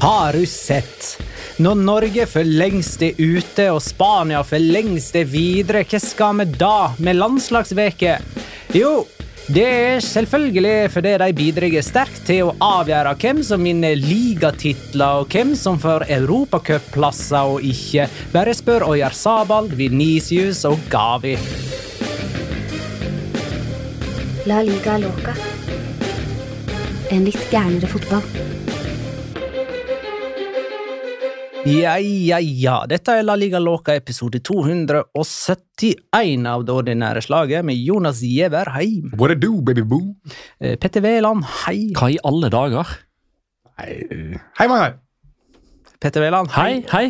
Har du sett? Når Norge for lengst er ute og Spania for lengst er videre, hva skal vi da med landslagsveke? Jo, det er selvfølgelig fordi de bidrar sterkt til å avgjøre hvem som vinner ligatitler, og hvem som får europacupplasser og ikke. Bare spør Oyar Sabal, Venicius og Gavi. La liga loca. En litt gærnere fotball. Ja, ja, ja. Dette er La Liga Loca episode 271 av det ordinære slaget med Jonas Giæver, hei. What a do, baby boo? Eh, Petter Wæland, hei. Hva i alle dager? Hei, hei Magnar. Petter Wæland, Hei, hei.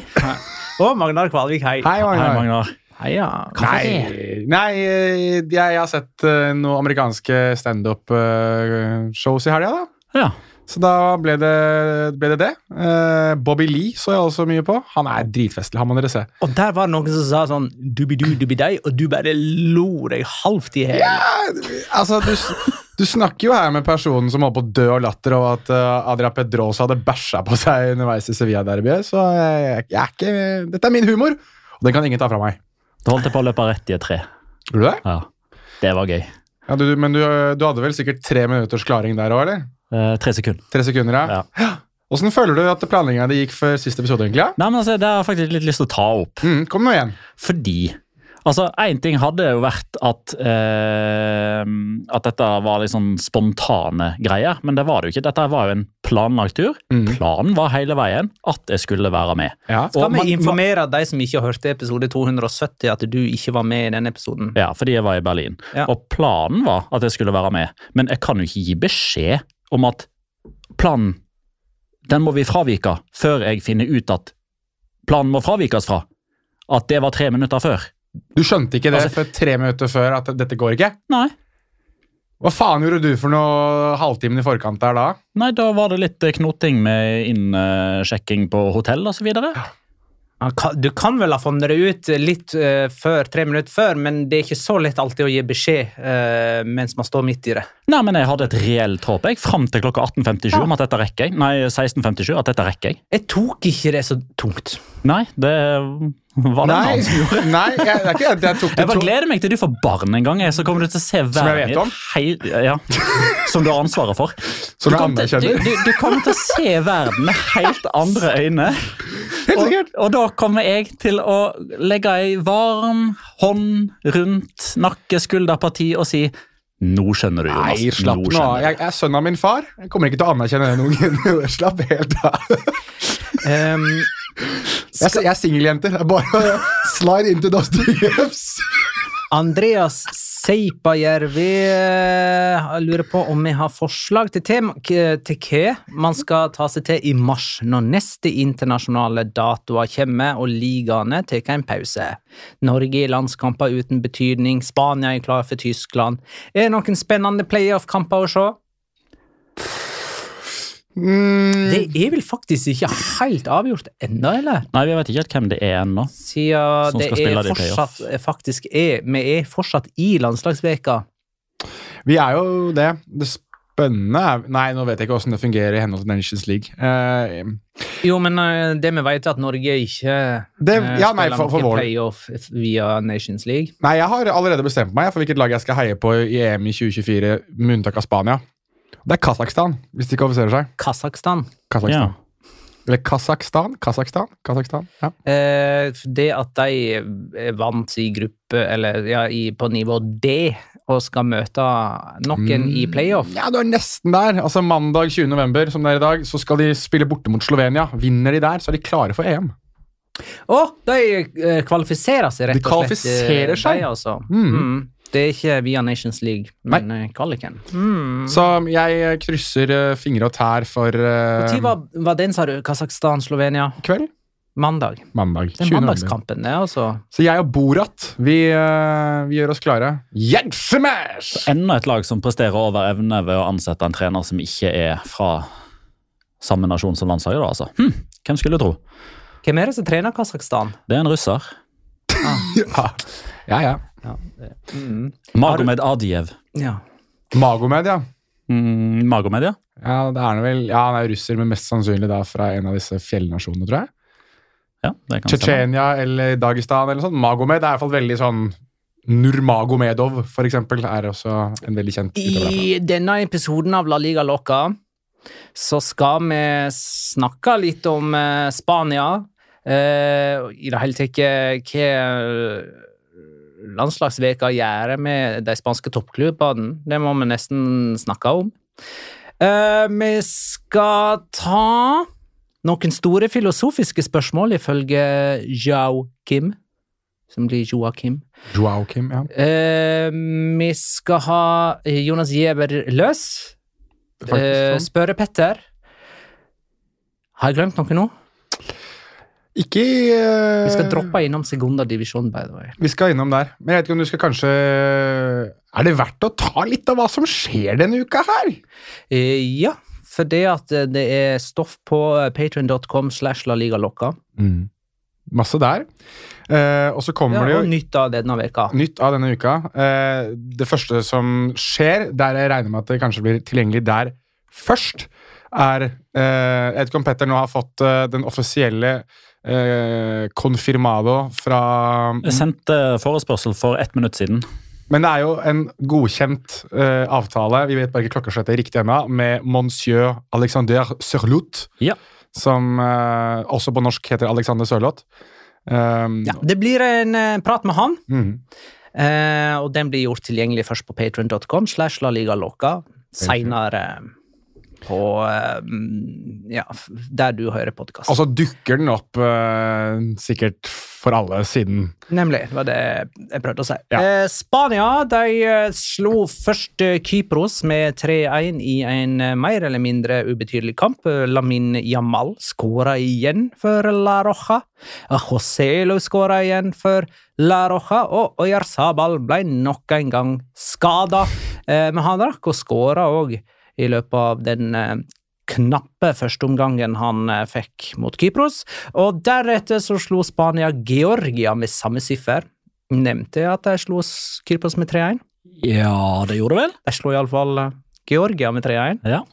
Og Magnar Kvalvik, hei. Hei, Hei, Magnar. Magnar. Hei, ja. Nei, nei eh, jeg, jeg har sett eh, noen amerikanske standup-shows i helga, da. Ja. Så da ble det ble det. det. Eh, Bobby Lee så jeg også mye på. Han er dritfestlig, han må dere se. Og der var det noen som sa sånn dubidu-dubidei, og du bare lo deg halvt i hæl. Altså, du, s- du snakker jo her med personen som holdt på å dø av latter, og at eh, Adria Pedrosa hadde bæsja på seg underveis i Sevilla-derbyet, så jeg, jeg er ikke Dette er min humor, og den kan ingen ta fra meg. Da holdt jeg på å løpe rett i et tre. Gjorde du det? Ja. Det var gøy. Ja, du, du- men du, du hadde vel sikkert tre minutters klaring der òg, eller? Eh, tre sekunder. Tre sekunder, ja. Ja. Åssen føler du at planlegginga di gikk for siste episode, egentlig? ja? Nei, men altså, Det har jeg faktisk litt lyst til å ta opp. Mm, kom nå igjen. Fordi Altså, Én ting hadde jo vært at eh, at dette var litt sånn spontane greier, men det var det jo ikke. Dette var jo en planlagt tur. Mm. Planen var hele veien at jeg skulle være med. Ja. Skal Og vi man- informere de som ikke hørte episode 270, at du ikke var med i den episoden? Ja, fordi jeg var i Berlin. Ja. Og planen var at jeg skulle være med, men jeg kan jo ikke gi beskjed om at planen den må vi fravike før jeg finner ut at planen må fravikes fra. At det var tre minutter før. Du skjønte ikke det Altså- for tre minutter før at dette går ikke? Nei, Hva faen gjorde du for noe halvtimen i forkant der da? Nei da var det litt eh, knoting med innsjekking på hotell osv. Han kan- Du kan vel ha funnet det ut litt eh, før, tre minutter før, men det er ikke så lett alltid å gi beskjed eh, mens man står midt i det. Nei, men jeg hadde et reelt håp jeg, fram til klokka 18.57 om at dette rekker jeg. Nei, 16.57 at dette rekker jeg. Jeg tok ikke det så tungt. Nei, det var det en annen som gjorde. nei jeg, det er ikke det. Jeg tok det Jeg bare to- gleder meg til du får barn en gang, jeg, så kommer du til å se verden jeg vet din om. hei- ja, Som du har ansvaret for. Som du, jeg kommer til, du, anerkjenner. du, du kommer til å se verden med helt andre øyne. helt sikkert. Og, og da kommer jeg til å legge ei varm hånd rundt nakke, skulderparti og si Nå skjønner du, Jonas. Nei, slapp nå av. skjønner du.» Jeg, jeg er sønn av min far. Jeg kommer ikke til å anerkjenne den ungen. slapp helt av. Ehm, Jeg, jeg er singeljente. Det er Bare å slide into those DMs. Andreas Seipajärvi eh, jeg lurer på om vi har forslag til, tema, k- til hva man skal ta seg til i mars, når neste internasjonale datoer kommer og ligaene tar en pause. Norge i landskamper uten betydning, Spania er klar for Tyskland. Er det noen spennende playoff-kamper å se? Mm, Det er vel faktisk ikke helt avgjort ennå, eller? Nei, vi vet ikke helt hvem det er ennå. Siden Som det skal spille er det i fortsatt, faktisk er, vi er fortsatt i landslagsveka. Vi er jo det. Det spennende er Nei, nå vet jeg ikke åssen det fungerer i henhold til Nations League. Eh, Jo, men eh, det vi vet er at Norge ikke Det- eh, ja, nei, spiller for- for noen vår- playoff via Nations League. nei, jeg har allerede bestemt meg for hvilket lag jeg skal heie på i EM i 2024, med unntak av Spania. Det er Kasakhstan, hvis de kvalifiserer seg. Kasakhstan. Kasakhstan. Ja. Eller Kasakhstan? Kasakhstan? Kasakhstan? Ja. Eh, det at de eh, vant i gruppe, eller ja, i, på nivå D, og skal møte noen i playoff Mm, Ja, du er nesten der. Altså Mandag 20. november som det er i dag, så skal de spille borte mot Slovenia. Vinner de der, så er de klare for EM. Å, de eh, kvalifiserer seg, rett De og slett. eh, kvalifiserer seg? De, altså. Mm. Mm. Det er ikke via Nations League, men eh, kvaliken. Mm. Så jeg eh, krysser eh, fingre og tær for eh, Når var, var den, sa du? Kasakhstan-Slovenia? kveld? Mandag. Mandag. Det er 20. november. mandagskampen, det, altså. Så jeg og Borat, vi, eh, vi gjør oss klare. Yes, smash! Enda et lag som presterer over evne ved å ansette en trener som ikke er fra samme nasjon som landslaget, da, altså. Hm, hvem skulle tro? Hvem er det som trener Kasakhstan? Det er en russer. Ja, ja. ja. Magomed Adiev. Ja. Magomed, ja. Mm, Magomed, ja. Ja, det er han vel, ja, han er russer, men mest sannsynlig da fra en av disse fjellnasjonene, tror jeg. ja det kan stemme. Tsjetsjenia eller Dagestan eller sånn. Magomed er i hvert fall veldig sånn Nurmagomedov, for eksempel, er også en veldig kjent utøver. derfra. I denne episoden av La Liga Loca så skal vi snakke litt om eh, Spania. Eh, I det hele tatt eh, hva landslagsveka gjør med de spanske toppklubbene. Det må vi nesten snakke om. Eh, vi skal ta noen store filosofiske spørsmål ifølge Jao Kim, som blir Joakim. Joao Kim, ja. Eh, vi skal ha Jonas Giæver løs. Faktisk Eh, sånn. spørre Petter. Har jeg glemt noe nå? Ikke eh, Vi skal droppe innom segundadivisjon, by the way. Vi skal innom der. Men jeg vet ikke om du skal kanskje Er det verdt å ta litt av hva som skjer denne uka her? Eh, ja, for det at eh, det er stoff på eh, patrion.com slash la liga lokka. Mm. Masse der. Eh, og så Ja, kommer det jo og nytt av denne veka. Nytt av denne uka. Eh, det første som skjer, der jeg regner med at det kanskje blir tilgjengelig der først, er eh, Jeg vet ikke om Petter nå har fått eh, den offisielle eh, confirmado fra Jeg sendte forespørsel for ett minutt siden. Men det er jo en godkjent eh, avtale, vi vet bare ikke klokkeslettet riktig ennå, med monsieur Alexander Sørloth, Ja. som eh, også på norsk heter Alexander Sørloth. Um, Ja, det blir en eh, prat med han, mm. eh, og den blir gjort tilgjengelig først på patrion.com slash la liga lokka. Seinere på eh, mm, ja, f- der du hører podkast. Og så dukker den opp eh, sikkert for alle siden Nemlig. Det var det jeg prøvde å si. Ja. Eh, Spania de eh, slo først eh, Kypros med 3-1 i en eh, mer eller mindre ubetydelig kamp. Eh, Lamin Jamal skåra igjen for La Roja. Joselo skåra igjen for La Roja. Og Oyar Sabal ble nok en gang skada. Eh, men han rakk å skåre òg i løpet av den eh, knappe førsteomgangen han eh, fikk mot Kypros. Og deretter så slo Spania Georgia med samme siffer. Nevnte jeg at de slo s- Kypros med 3-1? Ja, det gjorde det vel? De slo iallfall eh, Georgia med 3-1. Ja.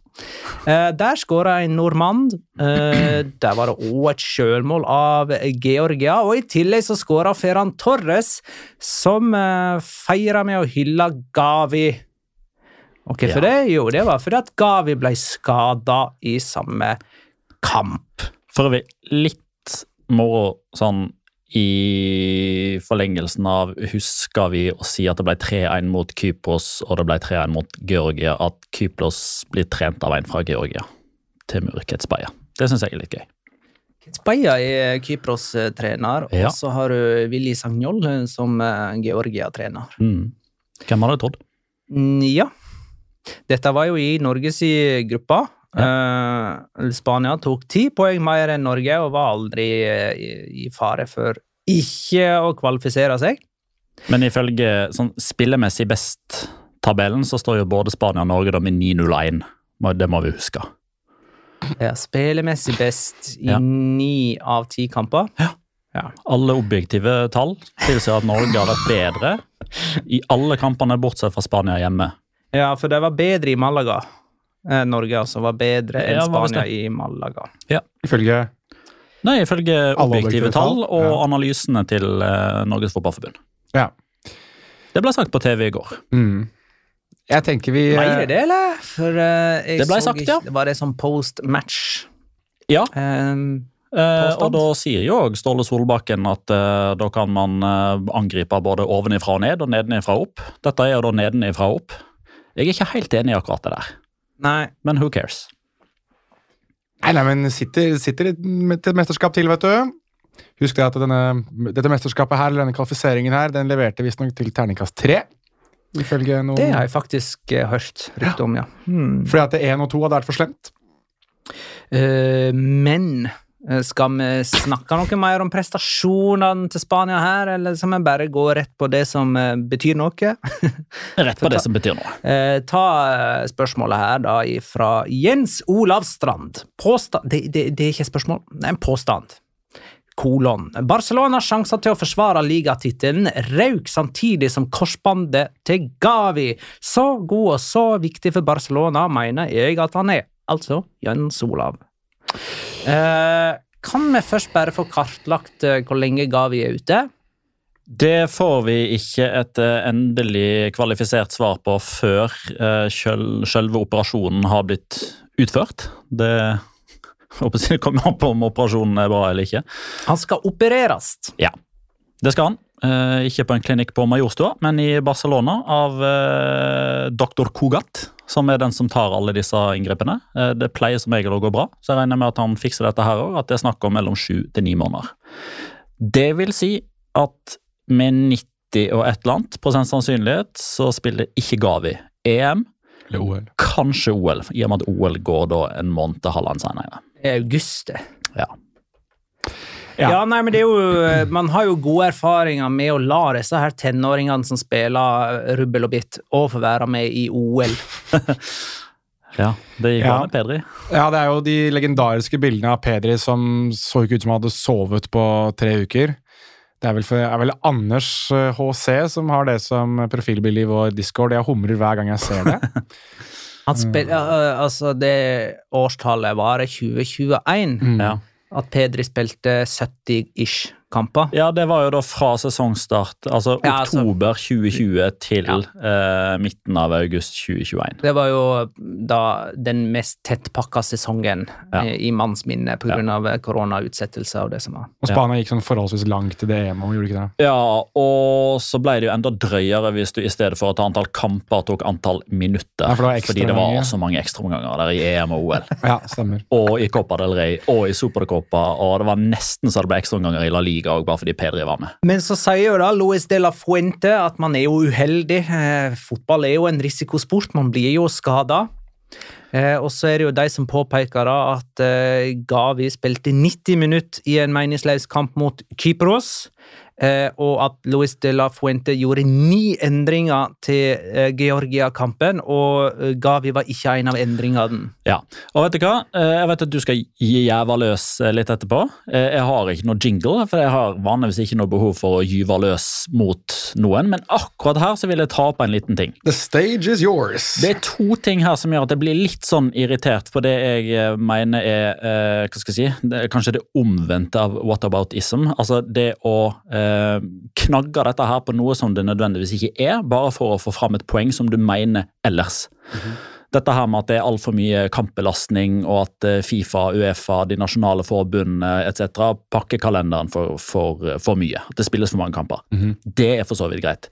Eh, der skåra en nordmann. Eh, der var det òg et sjølmål av Georgia. Og i tillegg så skåra Ferran Torres, som eh, feira med å hylle Gavi. Og hvorfor det? Jo, det var fordi at Gavi ble skada i samme kamp. For øvrig, litt moro sånn i forlengelsen av Husker vi å si at det ble 3-1 mot Kypros og det ble 3-1 mot Georgia, at Kypros blir trent av en fra Georgia, Temur Ketsbaya. Det syns jeg er litt gøy. Kitspeia er Kypros eh, trener, og Ja. så har du Willy Sagnol eh, som eh, Georgia-trener. Mm. Hvem hadde trodd? Mm, ja. Dette var jo i Norges i gruppa. Eh, Spania tok ti poeng mer enn Norge og var aldri eh, i, i fare for ikke å kvalifisere seg. Men ifølge sånn spillemessig best-tabellen så står jo både Spania og Norge da med 9-0-1. Må- Det må vi huske. Ja, spillemessig best i Ja. ni av ti kamper. Alle objektive tall tilsier at Norge har vært bedre i alle kampene bortsett fra Spania hjemme. Ja, for de var bedre i Malaga. Eh, Norge altså var bedre enn Ja, hva var Spania i Malaga. Ifølge Nei, ifølge Alle objektive objektive tall tall, og ja. analysene til eh, Norges Fotballforbund. Ja. Det ble sagt på TV i går. Mm. Jeg tenker vi eh, Ble det det, eller? For eh, jeg Det ble så sagt, ikke- ja. Var det sånn som post match? Ja, Um, eh, Påstand. og da sier jo også Ståle Solbakken at eh, da kan man eh, angripe både ovenifra og ned og nedenifra og opp. Dette er jo da nedenifra og opp. Jeg er ikke helt enig i akkurat det der, nei. men who cares? Nei, nei, men sitter, sitter et- til et mesterskap til, vet du. Husk det at denne, dette mesterskapet her, eller denne kvalifiseringen her, den leverte visstnok til terningkast tre. Ifølge noen. Det har jeg faktisk eh, hørt rykte om, ja. Hmm. Fordi at det én og to hadde vært for slemt. Eh, men eh, skal vi snakke noe mer om prestasjonene til Spania her, eller skal vi bare gå rett på det som eh, betyr noe? Rett på ta- det som betyr noe. Eh, ta eh, spørsmålet her da fra Jens Olav Strand. Påstand det, det, det er ikke et spørsmål, det er en påstand. Kolon. Barcelona sjanser til å forsvare ligatittelen røk samtidig som korsbandet til Gavi. Så god og så viktig for Barcelona mener jeg at han er. Altså Jens Olav. Eh, kan vi først bare få kartlagt eh, hvor lenge Gavi er ute? Det får vi ikke et eh, endelig kvalifisert svar på før eh, sjøl- sjølve operasjonen har blitt utført. Det jeg håper ikke det kommer an på om operasjonen er bra eller ikke. Han skal opereres. Det skal han. Eh, Ikke på en klinikk på Majorstua, men i Barcelona av eh, doktor Kogat, som er den som tar alle disse inngrepene. Eh, det pleier som regel å gå bra, så jeg regner med at han fikser dette her òg, at det er snakk om mellom sju til ni måneder. Det vil si at med 90 og et eller annet prosent sannsynlighet så spiller ikke Gavi EM, Eller OL. kanskje OL, i og med at OL går da en måned til halvannen senere. I august, det. Ja. Ja. nei, men det er jo eh, Man har jo gode erfaringer med å la disse her tenåringene som spiller eh, rubbel og bit, og få være med i OL. ja det gikk bra Ja. med Pedri. Ja, det er jo de legendariske bildene av Pedri som så ikke ut som han hadde sovet på tre uker. Det er vel, for, er vel Anders eh, HC som har det som profilbilde i vår discord. Jeg humrer hver gang jeg ser det. Han spil, ja, altså, det årstallet var det 2021. Ja. At Pedri spilte 70-ish kamper. Ja, det var jo da fra sesongstart, altså Ja, altså- oktober 2020 til eh, midten av august 2021. Det var jo da den mest tettpakka sesongen Ja. eh, i mannsminne pga. av koronautsettelser og det som var. Og Spania gikk sånn forholdsvis langt til det EM-et, gjorde de ikke det? Ja, og så ble det jo enda drøyere hvis du i stedet for å ta antall kamper tok antall minutter. Ja, for det var fordi det var ekstraomganger. så mange ekstraomganger der i EM og OL. Ja, stemmer. Og i Copa del Rey og i Supercopa, og det var nesten så det ble ekstraomganger i La Liga òg, bare fordi Pedri var med. Men så sier jo da Luis de la Fuente at man er jo uheldig. Eh, fotball er jo en risikosport, man blir jo skada. Eh, og så er det jo de som påpeker da at eh, Gavi spilte 90 minutter i en meningsløs kamp mot Kypros, eh, og at Luis de la Fuente gjorde ni endringer til eh, Georgia-kampen, og eh, Gavi var ikke en av endringene. Ja, og vet du hva? Eh, Jeg vet at du skal gi jæva løs eh, litt etterpå. Eh, Jeg har ikke noe jingle, for jeg har vanligvis ikke noe behov for å gyve løs mot noen, men akkurat her så vil jeg ta opp en liten ting. The stage is yours. Det er to ting her som gjør at jeg blir litt sånn irritert på det jeg eh, mener er eh, hva skal jeg si, det er kanskje det omvendte av whataboutism. Altså det å eh, knagge dette her på noe som det nødvendigvis ikke er, bare for å få fram et poeng som du mener ellers. Dette her med at det er altfor mye kampbelastning, og at eh, Fifa, Uefa, de nasjonale forbundene etc. pakker kalenderen for, for, for mye. At det spilles for mange kamper. Det er for så vidt greit.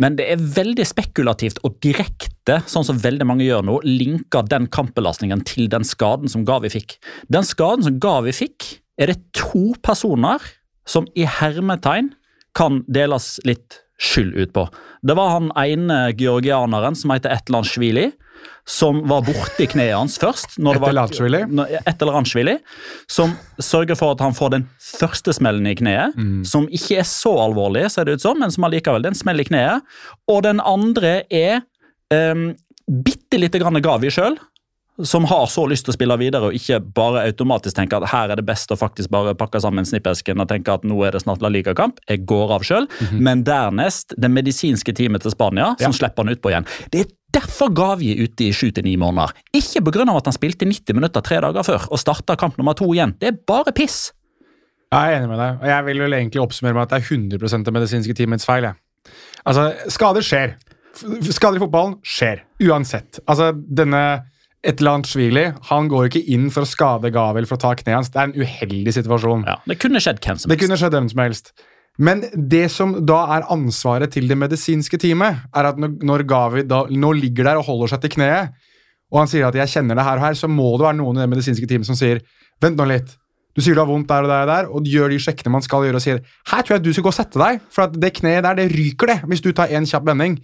Men det er veldig spekulativt og direkte, sånn som veldig mange gjør nå, linker den kampbelastningen til den skaden som Gavi fikk. Den skaden som Gavi fikk, er det to personer som i hermetegn kan deles litt skyld ut på. Det var han ene georgianeren som heter Etlandsjvili, som var borti kneet hans først. når det var- Etlandsjvili? når- Et eller annet Svili, som sørger for at han får den første smellen i kneet, som ikke er så alvorlig, ser det ut som, men som allikevel det er en smell i kneet. Og den andre er um, bitte lite grann Gavi sjøl, som har så lyst til å spille videre og ikke bare automatisk tenke at her er det best å faktisk bare pakke sammen snippesken og tenke at nå er det snart La Liga-kamp, jeg går av sjøl. Men dernest det medisinske teamet til Spania, som slipper han utpå igjen. Det er derfor Gavi er ute i sju til ni måneder. Ikke pga. at han spilte 90 minutter tre dager før og starta kamp nummer to igjen. Det er bare piss. Jeg er enig med deg. og Jeg vil vel egentlig oppsummere med at det er 100 det medisinske teamets feil. Jeg. Altså, Skader skjer. F- f- Skader i fotballen skjer. Uansett. Altså, denne et eller annet Svili han går ikke inn for å skade Gavel for å ta kneet hans. Det er en uheldig situasjon. Ja, det kunne skjedd hvem som Det helst. kunne skjedd hvem som helst. Men det som da er ansvaret til det medisinske teamet, er at når- når Gavi da, nå ligger der og holder seg til kneet, og han sier at 'jeg kjenner det her og her', så må det være noen i det medisinske teamet som sier 'vent nå litt'. Du sier du har vondt der og der og der, og gjør de sjekkene man skal gjøre, og sier 'her tror jeg du skal gå og sette deg', for at det kneet der, det ryker det, hvis du tar en kjapp vending.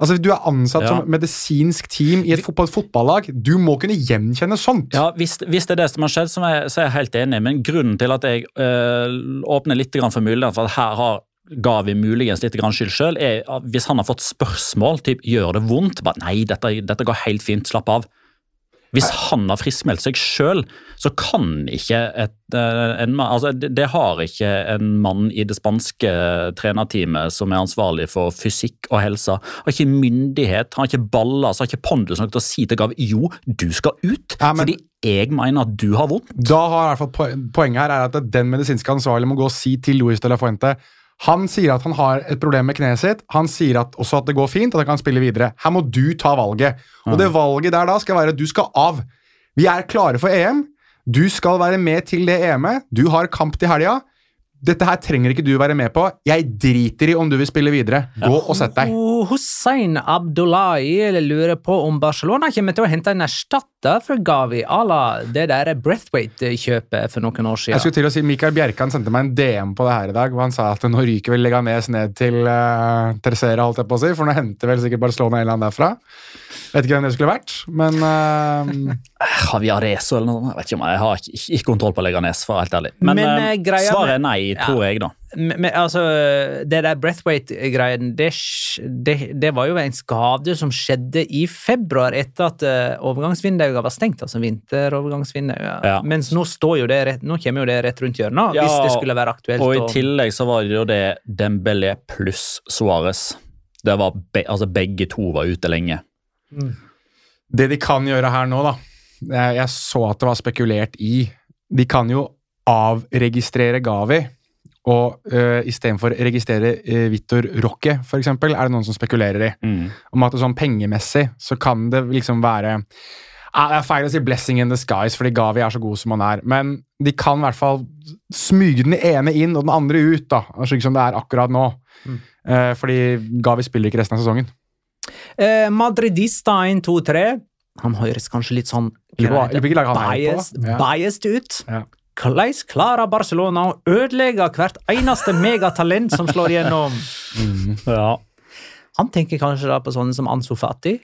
Altså, Du er ansatt Ja. som medisinsk team i et fotball, fotballag. Du må kunne gjenkjenne sånt. Ja, hvis, hvis det er det som har skjedd, så er jeg, så er jeg helt enig. Men grunnen til at jeg øh, åpner litt grann for muligheten for at her har Gavi muligens litt grann skyld sjøl, er at hvis han har fått spørsmål typ, gjør det vondt. Bare, Nei, dette, dette går helt fint, slapp av. Hvis han har friskmeldt seg sjøl, så kan ikke et, eh, en mann altså det, det har ikke en mann i det spanske eh, trenerteamet som er ansvarlig for fysikk og helse. Har ikke myndighet, har ikke ballast, har ikke pondus nok til å si til Gav jo, du skal ut. Ja, men- Fordi jeg mener at du har vondt. Da har i hvert fall poen- Poenget her er at den medisinske ansvarlige må gå og si til Luis de la Fuente Han sier at han har et problem med kneet sitt. Han sier at også at det går fint, at han kan spille videre. Her må du ta valget. Og det valget der da skal være at du skal av. Vi er klare for EM. Du skal være med til det EM-et. Du har kamp til helga. Dette her trenger ikke du være med på. Jeg driter i om du vil spille videre. Gå og sett deg. Og Hussein Abdullahi lurer på om Barcelona kommer til å hente en erstatter for Gavi à la det der Breathwaite-kjøpet for noen år Jeg siden. skulle til å si Mikael Bjerkan sendte meg en DM på det her i dag, hvor han sa at nå ryker vel Leganes ned til uh, Tercera, holdt jeg på å si, for nå henter vel sikkert Barcelona en eller annen derfra. Vet ikke hvem det skulle vært, men eh, Har vi Arezo eller noe? sånt? Jeg vet ikke om jeg- jeg har ikke, ikke kontroll på Leganes, for å være helt ærlig. Men, Men, eh, eh, greia svaret med- er nei, tror jeg, da. Men, men altså, det der Breathwaite-greien, det, sk- det, det var jo en skade som skjedde i februar etter at eh, overgangsvinduet var stengt, altså vinterovergangsvinduet. Ja. Mens nå står jo det rett, nå kommer jo det rett rundt hjørnet, Ja, hvis det skulle være aktuelt. Og i å- tillegg så var det jo det Dembélé pluss Suárez. Det var be, altså begge to var ute lenge. det de kan gjøre her nå, da jeg, jeg så at det var spekulert i. De kan jo avregistrere Gavi, og uh, istedenfor registrere uh, Vitor Roque, for eksempel, er det noen som spekulerer i. om at det sånn pengemessig så kan det liksom være Ja, Det er feil å si 'blessing in disguise', fordi Gavi er så god som han er. Men de kan i hvert fall smyge den ene inn og den andre ut, da, slik som det er akkurat nå. Eh, fordi Gavi spiller ikke resten av sesongen. Eh, Madridista 1-2-3. Han høres kanskje litt sånn Lurer på hva- lurer på hvilket lag han heier på, biased, da. Ja. biased ut. Ja. Hvordan klarer Barcelona å ødelegge hvert eneste megatalent som slår gjennom? Ja. Han tenker kanskje da på sånne som Ansu Fati.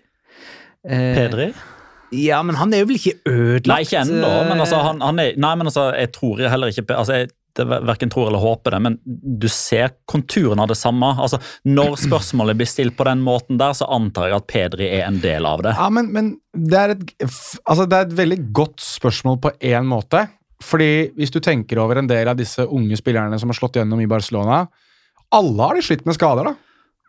Eh, Pedri? Ja, men han er jo vel ikke ødelagt? Nei, ikke ennå, men altså, eh, han, han er, nei, men altså, jeg tror jeg heller ikke altså, jeg, det ver- Verken tror eller håper det, men du ser konturen av det samme. Altså, når spørsmålet blir stilt på den måten der, så antar jeg at Pedri er en del av det. Ja, men, men det, er et, f- altså det er et veldig godt spørsmål på én måte. Fordi hvis du tenker over en del av disse unge spillerne som har slått gjennom i Barcelona Alle har de slitt med skader, da.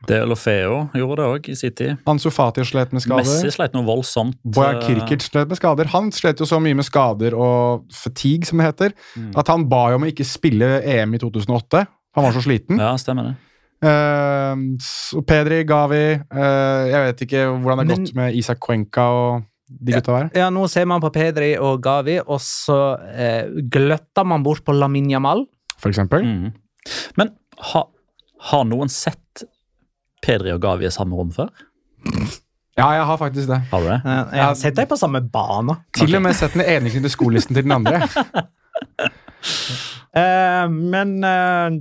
Deolofeo gjorde det òg i sin tid. Ansu Fati slet med skader. Messi eh, slet noe voldsomt. Bojan Kirkic slet med skader. Han slet jo så mye med skader og fatigue, som det heter, at han ba jo om å ikke spille EM i 2008. Han var så sliten. Ja, stemmer det. Eh, så Pedri, Gavi eh, Jeg vet ikke hvordan det har Men- gått med Isak Cuenca og de gutta der. Ja, nå ser man på Pedri og Gavi, og så eh, gløtter man bort på Lamin Jamal. For eksempel. Mhm. Men ha, har noen sett Pedri og Gavi i samme rom før? Ja, jeg har faktisk det. Har du det? Eh, Jeg har sett dem på samme bane. Til og med sett den ene knytte skolisten til den andre. Eh, men eh,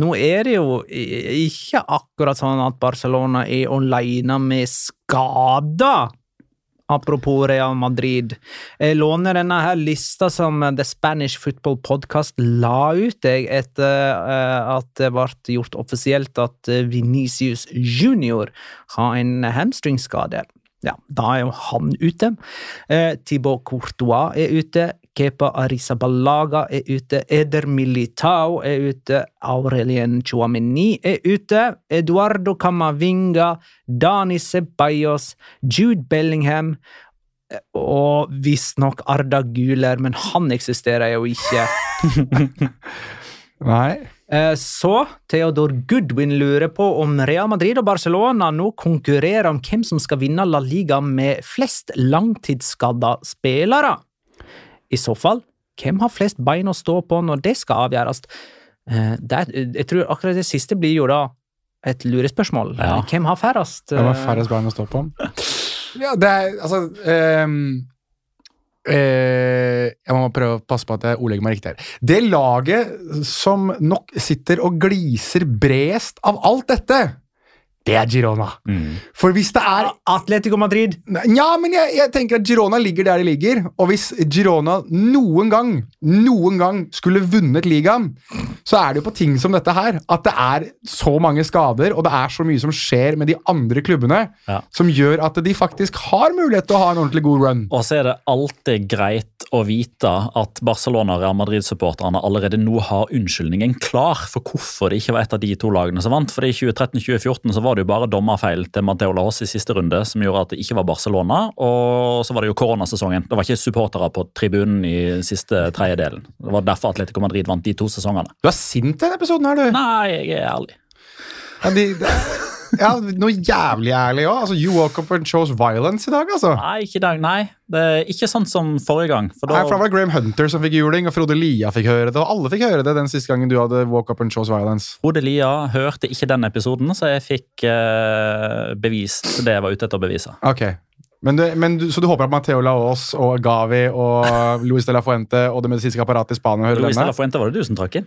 nå er det jo i- ikke akkurat sånn at Barcelona er alene med skader. Apropos Real Madrid. Jeg låner denne her lista som The Spanish Football Podcast la ut jeg, etter eh, at det ble gjort offisielt at eh, Vinicius Junior har en hamstringskade. Ja, da er jo han ute. Eh, Thibaut Courtois er ute. Kepa Arrizabalaga er ute. Eder Militao er ute. Aurelien Chouameni er ute. Eduardo Camavinga. Dani Ceballos. Jude Bellingham. eh, Og visstnok Arda Guler, men han eksisterer jo ikke. Nei. Eh, Så Theodor Goodwin lurer på om Real Madrid og Barcelona nå konkurrerer om hvem som skal vinne La Liga med flest langtidsskadde spillere. I så fall, hvem har flest bein å stå på når det skal avgjøres? Eh, Det, er- jeg tror akkurat det siste blir jo da et lurespørsmål. Ja. Hvem har færrest? Det var færrest bein å stå på. Ja, det er altså ehm, eh, Jeg må prøve å passe på at jeg ordlegger meg riktig her. Det laget som nok sitter og gliser bredest av alt dette, det er Girona. For hvis det er Eh, Atletico Madrid! Nei, Nja, men jeg, jeg tenker at Girona ligger der de ligger. Og hvis Girona noen gang noen gang skulle vunnet ligaen, så er det jo på ting som dette her at det er så mange skader, og det er så mye som skjer med de andre klubbene, Ja. som gjør at de faktisk har mulighet til å ha en ordentlig god run. Og så er det alltid greit å vite at Barcelona og Real Madrid-supporterne allerede nå har unnskyldningen klar for hvorfor det ikke var et av de to lagene som vant. For i 2013-2014 så var det jo bare dommerfeil til Mateo Laos i siste runde som gjorde at det ikke var Barcelona. Og så var det jo koronasesongen. Det var ikke supportere på tribunen i siste tredjedelen. Det var derfor Atletico Madrid vant de to sesongene. Du er sint i denne episoden her, du. Nei, jeg er ærlig. Ja, de, de, ja, noe jævlig ærlig òg. Altså, you woke up and chose violence i dag, altså. Nei, ikke i dag. Nei. Det er ikke sånn som forrige gang. For Nei, for da da, var det Graham Hunter som fikk juling, og Frode Lia fikk høre det. Og alle fikk høre det den siste gangen du hadde woke up and chose violence. Frode Lia hørte ikke den episoden, så jeg fikk eh, bevist det jeg var ute etter å bevise. Ok. Men du, men du, så du håper at Mateo Laos og Gavi og Luis de la Fuente og det medisinske apparatet i Spania hører Luis de denne? la Fuente, var det du som trakk inn?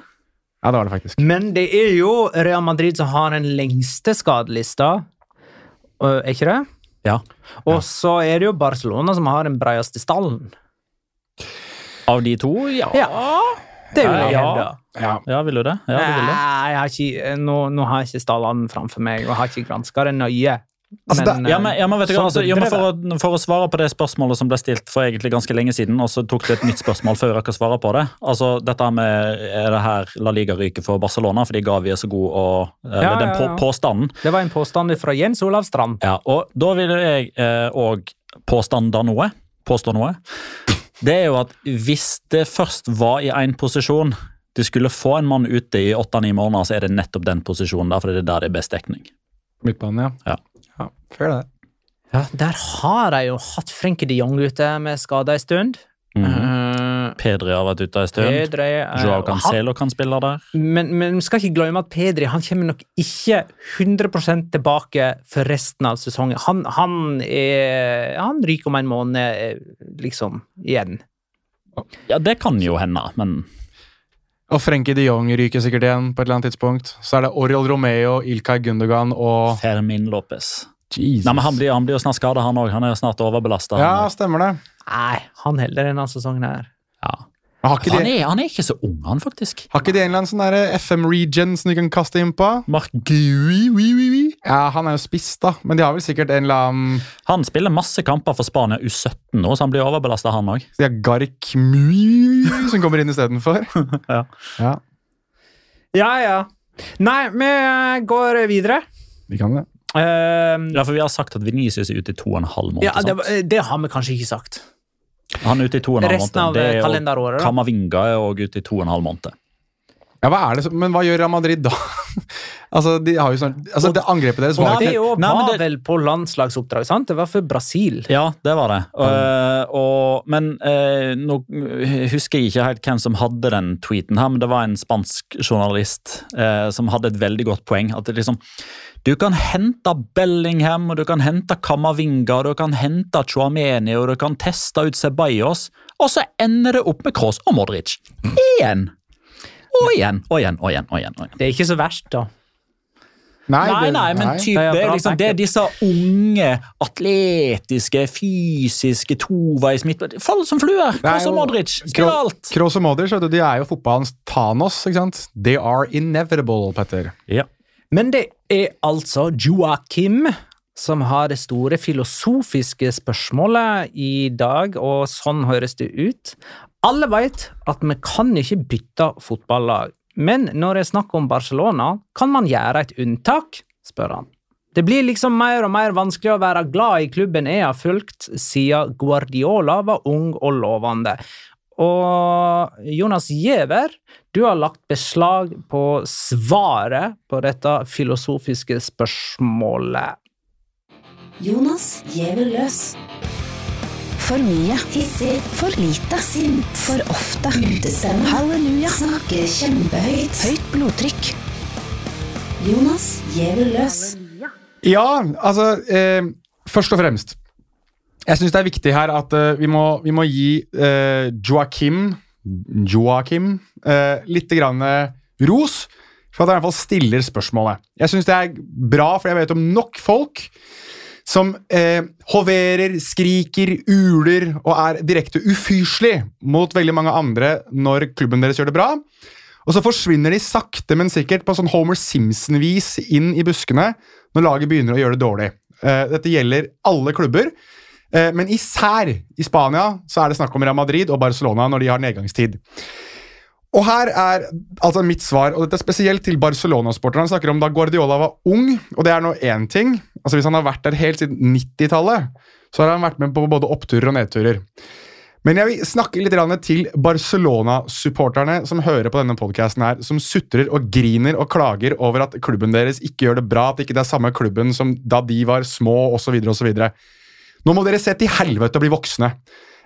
Ja, det var det faktisk. Men det er jo Real Madrid som har den lengste skadelista, Eh, er ikke det? Ja. Og så er det jo Barcelona som har den bredeste stallen. Av de to, ja. Ja, det vil Nei, jeg ja. hevde. Ja. Ja, vil du det? Ja, du vil det. Nei, jeg har ikke, nå, nå har jeg ikke stallene framfor meg, og jeg har ikke granska det nøye. Altså, det- Ja, men, ja, men vet du hva, Sånn altså, burde ja, men det for, å, for å svare på det spørsmålet som ble stilt for egentlig ganske lenge siden, og så tok du et nytt spørsmål før jeg rakk å svare på det. Altså, dette her med Er det her La Liga ryker for Barcelona fordi Gavi er så god, og eller, Ja, den ja, på, ja. påstanden? det var en påstand fra Jens Olav Strand. Ja, og da vil jeg òg påstanda noe. Påstå noe. Det er jo at hvis det først var i én posisjon du skulle få en mann ute i åtte-ni måneder, så er det nettopp den posisjonen der, for det er der det er best dekning. Midtbanen, ja. Ja. ja. Fair, det. Der har jeg jo hatt Frenkie de Jong ute med skade en stund. Eh, Pedri har vært ute en Mhm. stund. Pedri eh, Joao og han- Cancelo kan spille der. Men, men vi skal ikke glemme at Pedri han kommer nok ikke 100 tilbake for resten av sesongen. Han, han, er, han ryker om en måned, eh, liksom, igjen. Ja, det kan jo hende, men Og Frenkie de Jong ryker sikkert igjen på et eller annet tidspunkt. Så er det Oriol Romeo, Ilkay Gundogan og Fermin Lopez Jesus. Nei, men Han blir, han blir jo snart skada, han òg. Han er jo snart overbelasta. Ja, stemmer det. Nei, han heller denne sesongen her. Men Har ikke Han, de, er- han er ikke så ung, han, faktisk. har ikke de en eller annen sånn der FM-regen som de kan kaste inn på? Mark Gui, oui, oui, oui. Ja, han er jo spiss, da. Men de har vel sikkert en eller annen Han spiller masse kamper for Spania U17 nå, så han blir overbelasta, han òg. De har Gark Mui som kommer inn istedenfor. Ja. ja, Ja, ja. Nei, vi eh, går videre. vi kan det. Eh, Ja, for vi har sagt at Venicius er ute i to og en halv måned. ja, det, sant? var- eh, det har vi kanskje ikke sagt. Han er ute i to og en halv måned. Resten av Det er eh, jo- kalenderåret. da. Kamavinga er òg ute i to og en halv måned. Ja, hva er det, som- men hva gjør Real Madrid da? altså, de har jo sånn, altså, det Angrepet deres var Og jo det ikke òg Nei, men var det- vel på landslagsoppdrag, sant? Det var for Brasil. Ja, det var det. Eh, og, men eh, nå husker jeg ikke helt hvem som hadde den tweeten her, men det var en spansk journalist eh, som hadde et veldig godt poeng. At det liksom Du kan hente Bellingham, og du kan hente Kamavinga, og du kan hente Chuameni, og du kan teste ut Ceballos, og så ender det opp med Kroos og Modric. Igjen! Og igjen, og igjen, og igjen. og igjen, og igjen. Det er ikke så verst, da. Nei, det- nei, men type, Det er det, bra er liksom, det er disse unge, atletiske, fysiske, toveis midt... Fall som fluer! Det er Kroos og jo- Modric! Kro- Spill alt! Kroos og Modric vet du, de er jo fotballens Thanos. ikke sant? They are inevitable, Petter. Ja. Men det er altså Joakim som har det store filosofiske spørsmålet i dag, og sånn høres det ut. Alle vet at vi kan ikke bytte fotballag, men når det er snakk om Barcelona, kan man gjøre et unntak, spør han. Det blir liksom mer og mer vanskelig å være glad i klubben jeg har fulgt siden Guardiola var ung og lovende. Og Jonas Giæver, du har lagt beslag på svaret på dette filosofiske spørsmålet. Jonas gjever løs. For mye. Hissig. For lite. Sint. For ofte. Utestemme. Halleluja. Snakker kjempehøyt. Høyt blodtrykk. Jonas gjever løs. Ja, altså eh, Først og fremst. Jeg syns det er viktig her at eh, vi, må, vi må gi eh, Joakim Joakim eh, litt grann, eh, ros for at han i hvert fall stiller spørsmålet. Jeg syns det er bra, for jeg vet om nok folk som eh, hoverer, skriker, uler og er direkte ufyselig mot veldig mange andre når klubben deres gjør det bra. Og så forsvinner de sakte, men sikkert på sånn Homer Simpson-vis inn i buskene når laget begynner å gjøre det dårlig. Eh, dette gjelder alle klubber, eh, men især i Spania så er det snakk om Real Madrid og Barcelona når de har nedgangstid. Og her er altså mitt svar, og dette er spesielt til Barcelona-sporterne. Han snakker om da Guardiola var ung, og det er nå én ting. Altså Hvis han har vært der helt siden 90-tallet, så har han vært med på både oppturer og nedturer. Men jeg vil snakke litt grann til Barcelona-supporterne som hører på denne podcasten her, som sutrer og griner og klager over at klubben deres ikke gjør det bra, at ikke det er samme klubben som da de var små, osv. osv. Nå må dere se til helvete og bli voksne.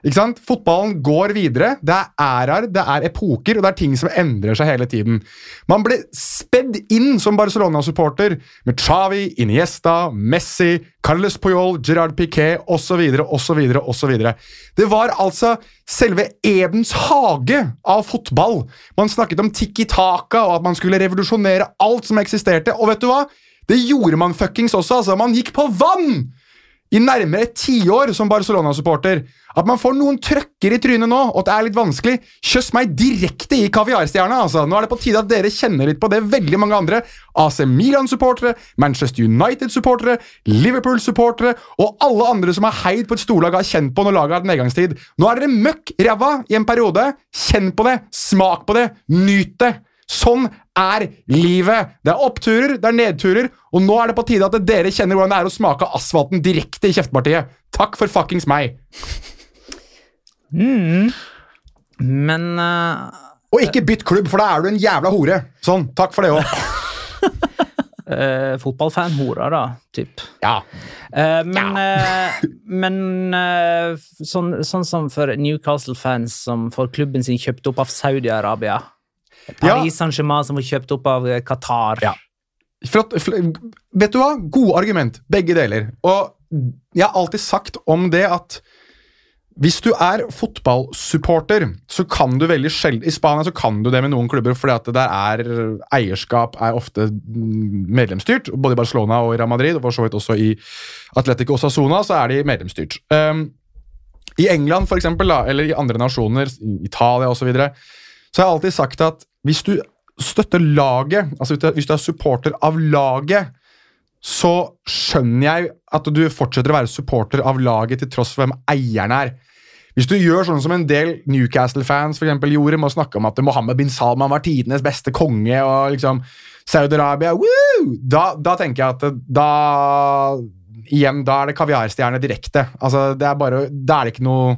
Ikke sant? Fotballen går videre. Det er æraer, det er epoker, og det er ting som endrer seg hele tiden. Man ble spedd inn som Barcelona-supporter med Chavi, Iniesta, Messi, Carles Puyol, Gerard Piquet osv., osv., osv. Det var altså selve Edens hage av fotball. Man snakket om Tiki Taka og at man skulle revolusjonere alt som eksisterte, og vet du hva? Det gjorde man fuckings også, altså. Man gikk på vann! i nærmere et tiår som Barcelona-supporter. At man får noen trøkker i trynet nå, og at det er litt vanskelig. Kjøss meg direkte i kaviarstjerna, altså! Nå er det på tide at dere kjenner litt på det veldig mange andre. AC Milan-supportere, Manchester United-supportere, Liverpool-supportere og alle andre som har heid på et storlag og har kjent på når laget har hatt nedgangstid. Nå er dere møkk ræva i en periode. Kjenn på det, smak på det, nyt det! Sånn er livet. Det er oppturer, det er nedturer, og nå er det på tide at dere kjenner hvordan det er å smake asfalten direkte i kjeftpartiet. Takk for fuckings meg. Men eh, Og ikke bytt klubb, for da er du en jævla hore. Sånn. Takk for det òg. eh, fotballfan-hora, da, typ. Ja. Eh, men eh, men eh, sånn, sånn som for Newcastle-fans som får klubben sin kjøpt opp av Saudi-Arabia. Paris Saint-Germain som får kjøpt opp av eh, Qatar. Ja. Flott, fl- vet du hva? Gode argument, begge deler. Og jeg har alltid sagt om det at hvis du er fotballsupporter, så kan du veldig sjelden I Spania så kan du det med noen klubber, fordi at det der er eierskap er ofte medlemsstyrt. Både i Barcelona og i Real Madrid, og for så vidt også i Atletico Osasuna, så er de medlemsstyrt. Um, I England, for eksempel, da, eller i andre nasjoner, i Italia osv., så, videre, så har jeg alltid sagt at hvis du støtter laget, altså hvis du er- hvis du er supporter av laget, så skjønner jeg at du fortsetter å være supporter av laget til tross for hvem eieren er. Hvis du gjør sånn som en del Newcastle-fans for eksempel, gjorde, med å snakke om at Mohammed bin Salman var tidenes beste konge og liksom Saudi-Arabia woo! da, da tenker jeg at da Igjen, da er det kaviarstjerne direkte. Altså, det er bare, Da er det ikke noe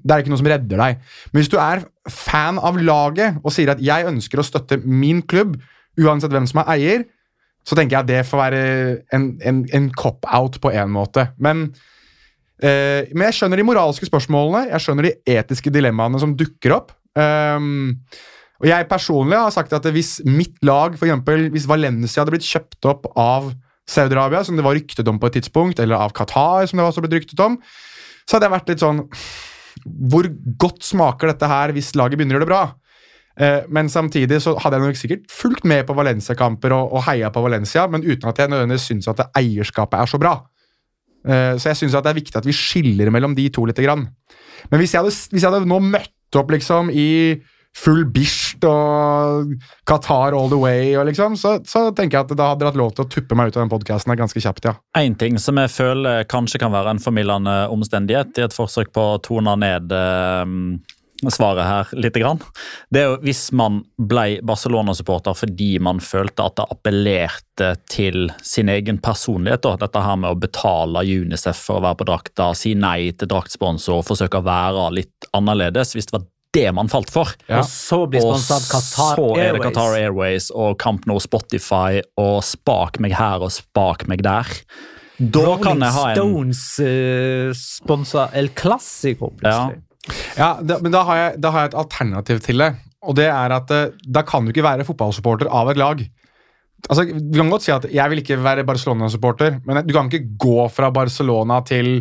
Det er ikke noe som redder deg. Men hvis du er fan av laget og sier at 'jeg ønsker å støtte min klubb', uansett hvem som er eier, så tenker jeg at det får være en, en, en cop-out på en måte. Men, eh, men jeg skjønner de moralske spørsmålene, jeg skjønner de etiske dilemmaene som dukker opp. Ehm, og jeg personlig har sagt at hvis mitt lag, for eksempel, hvis Valencia hadde blitt kjøpt opp av Saudi-Arabia, som det var ryktet om på et tidspunkt, eller av Qatar, som det var også blitt ryktet om, så hadde jeg vært litt sånn Hvor godt smaker dette her hvis laget begynner å gjøre det bra? Eh, Men samtidig så hadde jeg nok sikkert fulgt med på Valencia-kamper og, og heia på Valencia, men uten at jeg nødvendigvis syns at det eierskapet er så bra. Eh, Så jeg syns det er viktig at vi skiller mellom de to lite grann. Men hvis jeg hadde, hvis jeg hadde nå møtt opp liksom i full bisht og Qatar all the way, og liksom, så, så tenker jeg at da hadde dere hatt lov til å tuppe meg ut av den podkasten ganske kjapt, ja. Én ting som jeg føler kanskje kan være en formildende omstendighet i et forsøk på å tone ned eh, svaret her litt, grann. det er jo hvis man ble Barcelona-supporter fordi man følte at det appellerte til sin egen personlighet. Da. Dette her med å betale Unicef for å være på drakta, si nei til draktsponsor, forsøke å være litt annerledes. Hvis det var det man falt for. Ja. Og så blir Og sponset av Qatar så er det Airways. Qatar Airways og Camp Nou Spotify og spak meg her og spak meg der. Da kan Rolling jeg ha en Stones uh, sponsa El Clásico, ja, plutselig. Ja, da, men da har, jeg, da har jeg et alternativ til det. Og det er at eh, da kan du ikke være fotballsupporter av et lag. Altså, Du kan godt si at jeg vil ikke være Barcelona-supporter, men du kan ikke gå fra Barcelona til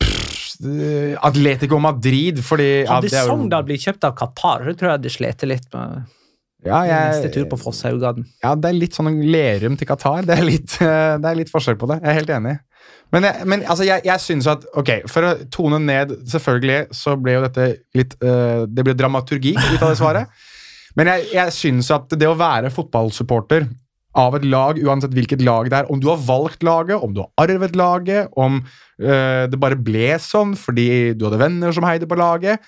pff, eh, Atletico Madrid fordi ja, Hadde det er jo- Sogndal blitt kjøpt av Qatar, så tror jeg de slet litt med ja, neste jeg, tur på Fosshaugaden. ja, det er litt sånn Lerum til Qatar. Det er litt, eh, det er litt forskjell på det. Jeg er helt enig. Men, jeg, men altså, jeg, jeg synes at Ok, for å tone ned Selvfølgelig så ble jo dette litt eh, Det ble dramaturgi ut av det svaret. Men jeg, jeg syns at det å være fotballsupporter av et lag, uansett hvilket lag det er, om du har valgt laget, om du har arvet laget, om eh, det bare ble sånn fordi du hadde venner som heide på laget,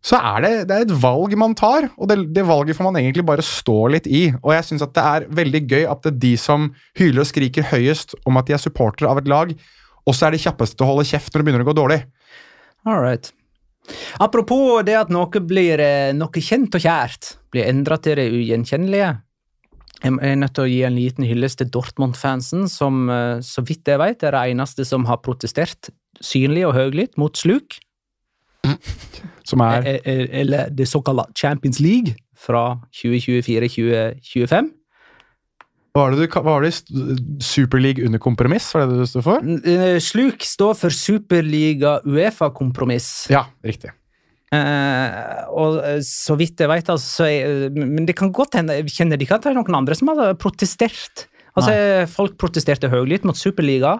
så er det, det er et valg man tar, og det, det valget får man egentlig bare stå litt i. Og jeg syns det er veldig gøy at det er de som hyler og skriker høyest om at de er supportere av et lag, også er de kjappeste til å holde kjeft når det begynner å gå dårlig. All right. Apropos det at noe blir eh, noe kjent og kjært, blir endra til det ugjenkjennelige. Jeg er nødt til å gi en liten hyllest til Dortmund-fansen, som eh, så vidt jeg vet er de eneste som har protestert synlig og høylytt mot sluk, Som er eh, eh, eller det såkalte Champions League fra 2024-2025. Hva var det du ka- hva var det st- Superleague under kompromiss, var det det du sto for? N- eh, Sluk står for Superliga Uefa-kompromiss. Ja, riktig. Eh, og eh, så vidt jeg vet, altså, så er, men det kan godt hende jeg Kjenner de ikke at det er noen andre som har eh, protestert? Altså, eh, folk protesterte høylytt mot Superliga.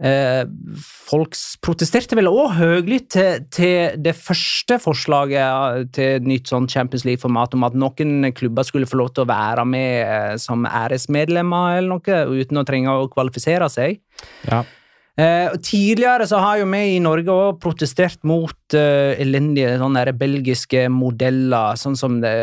Eh, folk s- protesterte vel òg høylytt til, til det første forslaget eh, til et nytt sånn Champions League-format om at noen klubber skulle få lov til å være med eh, som æresmedlemmer eller noe, uten å trenge å kvalifisere seg. Ja. Eh, og tidligere så har jo vi i Norge òg protestert mot eh, elendige sånne der belgiske modeller, sånn som det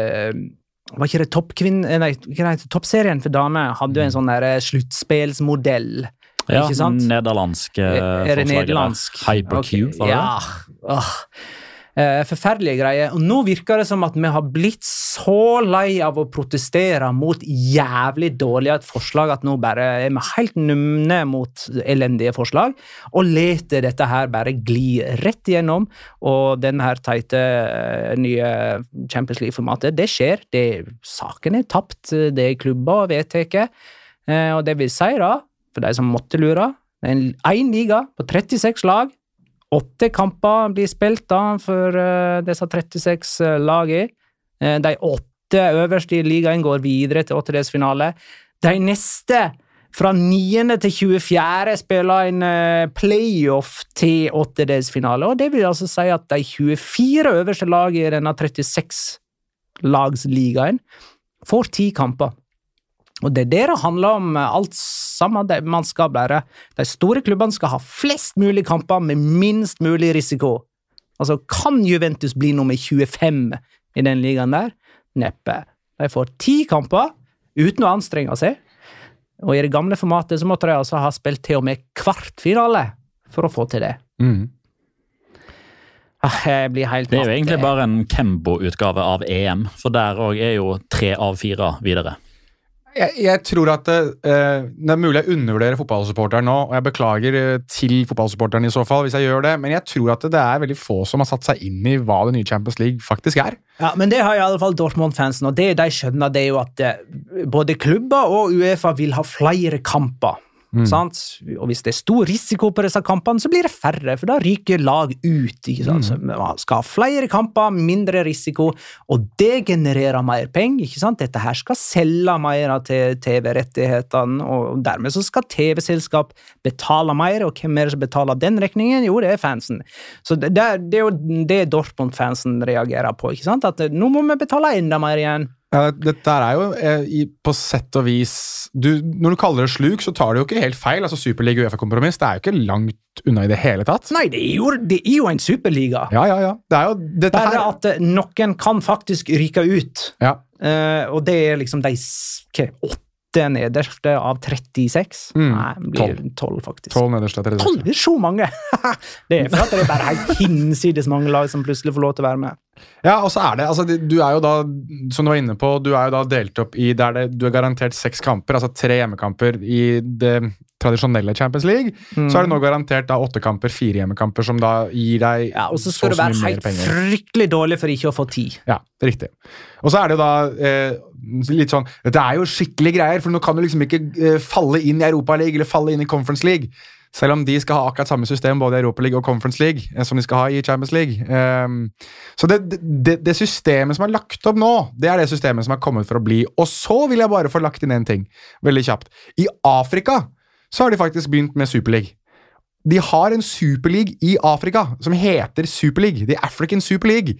Var ikke det toppkvinn... eh, Nei, hva heter det? Toppserien for damer hadde jo en sånn der sluttspillsmodell. ja, Ikke sant? nederlandsk eh, Er det forslaget der. nederlandsk? Hypercube, Ok, var det? Ja. Åh. Eh, Forferdelige greier. Og nå virker det som at vi har blitt så lei av å protestere mot jævlig dårlige forslag at nå bare er vi helt numne mot elendige forslag, og leter dette her bare gli rett igjennom. Og den her teite eh, nye Champions League-formatet, det skjer. Det, saken er tapt, det er klubber og vedtatt. Eh, Og det vil si, da, for de som måtte lure, det er én liga på 36 lag. Åtte kamper blir spilt da for eh, disse 36 uh, lagene. Eh, de åtte øverste i ligaen går videre til åttedelsfinale. De neste, fra 9. til 24., spiller en eh, playoff til åttedelsfinale. Og det vil altså si at de 24 øverste lagene i denne 36-lagsligaen får ti kamper. Og det er det det handler om, eh, alt sammen. Det, man skal bare, de store klubbene skal ha flest mulig kamper med minst mulig risiko. Altså, kan Juventus bli nummer 25 i den ligaen der? Neppe. De får ti kamper uten å anstrenge seg. Og i det gamle formatet så måtte de Mm. altså ha spilt til og med kvartfinale for å få til det. Mhm. Jeg blir helt Det er jo matt. egentlig bare en Kembo-utgave av EM, for der òg er jo tre av fire videre. Jeg, jeg tror at eh, Det er mulig jeg undervurderer fotballsupporteren nå, og jeg beklager eh, til fotballsupporteren i så fall, hvis jeg gjør det, men jeg tror at det er veldig få som har satt seg inn i hva det nye Champions League faktisk er. Ja, men det har i alle fall Dortmund-fansen, og det de skjønner, det er jo at eh, både klubber og Uefa vil ha flere kamper. Sant? Og hvis det er stor risiko på disse kampene, så blir det færre, for da ryker lag ut. Ikke sant? Så man skal ha flere kamper, mindre risiko, og det genererer mer penger. ikke sant? Dette her skal selge mer av til TV-rettighetene, og dermed så skal TV-selskap betale mer, og hvem er det som betaler den regningen? Jo, det er fansen. Så det, det er- det er jo det Dortmund-fansen reagerer på, ikke sant? At eh, nå må vi betale enda mer igjen. Ja, Dette her er jo eh, i, på sett og vis du, Når du kaller det sluk, så tar det jo ikke helt feil. altså Superliga Uefa-kompromiss det er jo ikke langt unna i det hele tatt. Nei, det er jo, det er jo en superliga. Ja, ja, ja. Det er jo dette Bare her. at eh, noen kan faktisk ryke ut. Ja. Eh, og det er liksom de s- hva, åtte nederste av 36. Mm, Nei, det blir tolv, faktisk. Tolv nederste etter Tolv det er så mange! det er for at det er bare helt hinsides mange lag som plutselig får lov til å være med. Ja, og så er det, altså, det- Du er jo da som du var inne på, du er jo da delt opp i der det, du er garantert seks kamper, altså tre hjemmekamper i det tradisjonelle Champions League. Mm. Så er det nå garantert da åtte kamper, fire hjemmekamper, som da gir deg Ja, og så skal og det være mye mer helt fryktelig dårlig for ikke å få ti. Ja, riktig. Og så er det jo da eh, litt sånn Dette er jo skikkelige greier, for nå kan du liksom ikke eh, falle inn i Europaligaen eller falle inn i Conference League. Selv om de skal ha akkurat samme system både i Europaligaen og Conference League eh, som de skal ha i Champions League. Ehm, så det, det, det systemet som er lagt opp nå, det er det systemet som er kommet for å bli. Og så vil jeg bare få lagt inn én ting, veldig kjapt. I Afrika så har de faktisk begynt med Superliga. De har en superleague i Afrika som heter Superleague, The African Super League,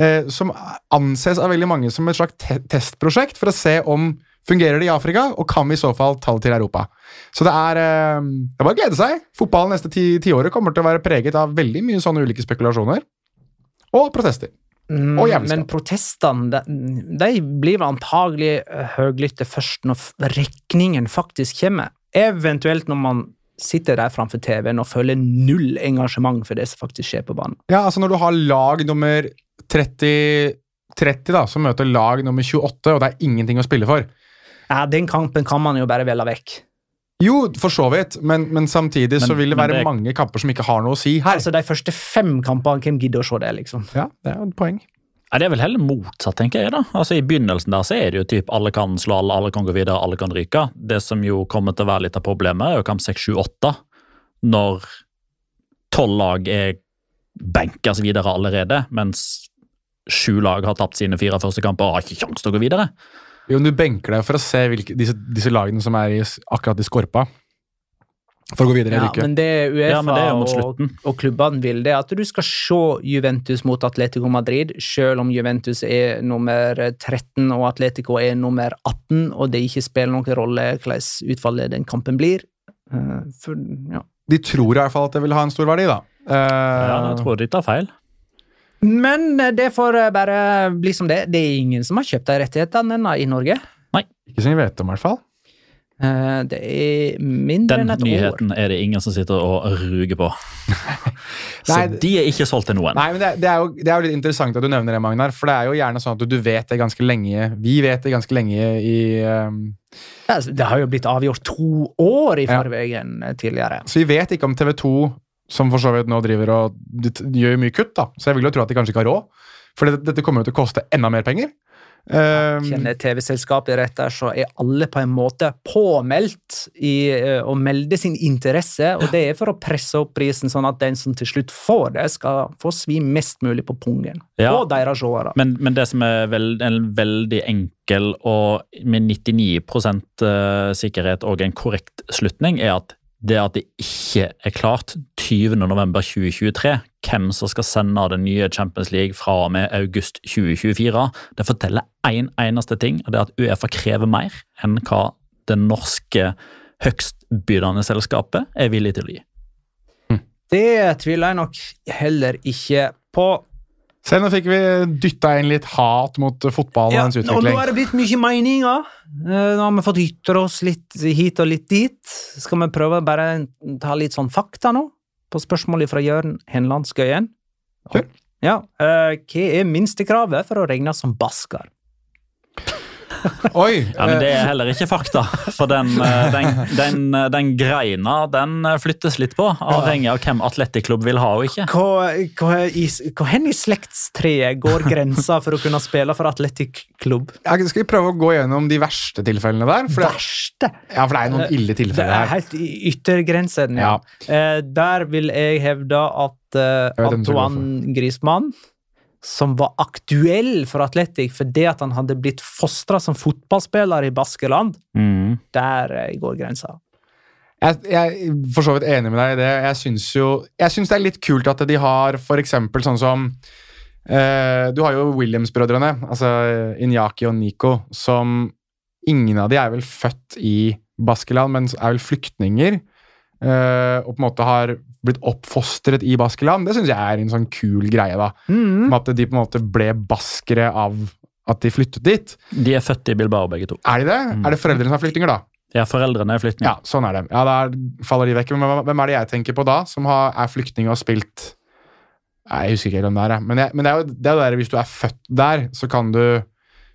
eh, som anses av veldig mange som et slags te testprosjekt for å se om fungerer det i Afrika, og kan vi i så fall ta det til Europa. Så det er, eh, det er bare å glede seg. Fotballen neste ti tiåret kommer til å være preget av veldig mye sånne ulike spekulasjoner. Og protester. Og Mm, jævelskap. men protestene de, de blir vel antagelig eh, høylytte først når f- regningen faktisk kommer. Eventuelt når man sitter der framfor TV-en og føler null engasjement for det som faktisk skjer på banen. Ja, altså når du har lag nummer 30, 30 da, som møter lag nummer 28, og det er ingenting å spille for. Ja, Den kampen kan man jo bare velge vekk. Jo, for så vidt, men, men samtidig så Men- vil det men være det- mange kamper som ikke har noe å si her. Altså De første fem kampene, hvem gidder å se det? liksom? ja, det er jo et poeng. Ja, det er vel heller motsatt, tenker jeg. da. Altså, I begynnelsen der så er det jo typ alle kan slå alle, alle kan gå videre, alle kan ryke. Det som jo kommer til å være litt av problemet, er jo kamp 6, 7, 8. Når tolv lag er benkes videre allerede, mens sju lag har tapt sine fire første kamper og har ikke kjangs til å gå videre. Jo, men Du benker deg for å se hvilke, disse, disse lagene som er i, s- akkurat i skorpa, for å gå videre Ja, eller ikke. men det Uefa Ja, men det er jo mot og, slutten. og klubbene vil, det er at du skal se Juventus mot Atletico Madrid, selv om Juventus er nummer 13 og Atletico er nummer 18, og det ikke spiller noen rolle hvordan utfallet i den kampen blir. Eh, For, ja. De tror i hvert fall at det vil ha en stor verdi, da. Eh, Ja, da tror jeg de tar feil. Men eh, det får eh, bare bli som det. Det er ingen som har kjøpt de rettighetene ennå i Norge. Ikke som vi vet om, i hvert fall. Eh, Det er mindre Den enn et år. nyheten er det ingen som sitter og ruger på. Så Nei, de er ikke solgt til noen. Nei, men det, det, er jo, det er jo litt interessant at du nevner det, Magnar, for det er jo gjerne sånn at du, du vet det ganske lenge Vi vet det ganske lenge i eh, Ja, altså, Det har jo blitt avgjort to år i Ja. forveien eh, tidligere. Så vi vet ikke om TV 2, som for så vidt nå driver og de t- gjør mye kutt, da. så jeg vil jo tro at de kanskje ikke har råd. For dette, dette kommer jo til å koste enda mer penger. Ehm, kjenner TV-selskapet rett der, så er alle på en måte påmeldt i eh, å melde sin interesse, og det er for å presse opp prisen, sånn at den som til slutt får det, skal få svi mest mulig på pungen. Ja. Og deres seere. Men, men det som er vel, en veldig enkel og med 99 eh, sikkerhet og en korrekt slutning, er at det at det ikke er klart 20.11.2023 hvem som skal sende den nye Champions League fra og med august 2024, det forteller én en eneste ting, og det er at Uefa krever mer enn hva det norske høgstbydende selskapet er villig til å gi. Det tviler jeg nok heller ikke på. Se, nå fikk vi dytta inn litt hat mot eh, fotball og Ja, dens og nå utvikling. er det blitt mye meninger. Eh, Nå har vi fått ytre oss litt hit og litt dit. Skal vi prøve å bare ta litt sånn fakta nå? På spørsmålet fra Jørn Henland Skøyen. Kjør. Ja, eh, hva er minstekravet for å regnes som basker? Oi! Ja, men Det er heller ikke fakta, for den, eh, den, den, eh, den greina den eh, flyttes litt på, avhengig av hvem Atletic Club vil ha og ikke. Hva, hva, i, hva hen i slektstreet går grensa for å kunne spille for Atletic Klubb? eh, Skal vi prøve å gå gjennom de verste tilfellene der? For det, Verste! ja, for det er noen ille Det tilfeller er her. helt i yttergrensen. Ja. Eh, der vil jeg hevde at eh, Jeg vet hvem du går for. Antoine Griezmann, som var aktuell for Atletic fordi at han hadde blitt fostra som fotballspiller i Baskeland, der eh, går grensa. Jeg, jeg er for så vidt enig med deg i det. Jeg syns jo Jeg syns det er litt kult at de har for eksempel sånn som eh, Du har jo Williams-brødrene, altså Inyaki og Nico, som Ingen av de er vel født i Baskeland, men er vel flyktninger. eh, og på en måte har blitt oppfostret i Baskeland. Det syns jeg er en sånn kul greie, da. Mm. Med At de på en måte ble baskere av at de flyttet dit. De er født i Bilbao, begge to. Er de det? Er det foreldrene som er flyktninger, da? Ja, Foreldrene er flyktninger. Ja, sånn er det. Ja, Da faller de vekk. Men hvem- hvem er det jeg tenker på da, som har, er flyktning og har spilt Nei, Jeg husker ikke helt hvem det er, jeg. men, jeg, men det er jo det, er jo det der, hvis du er født der, så kan du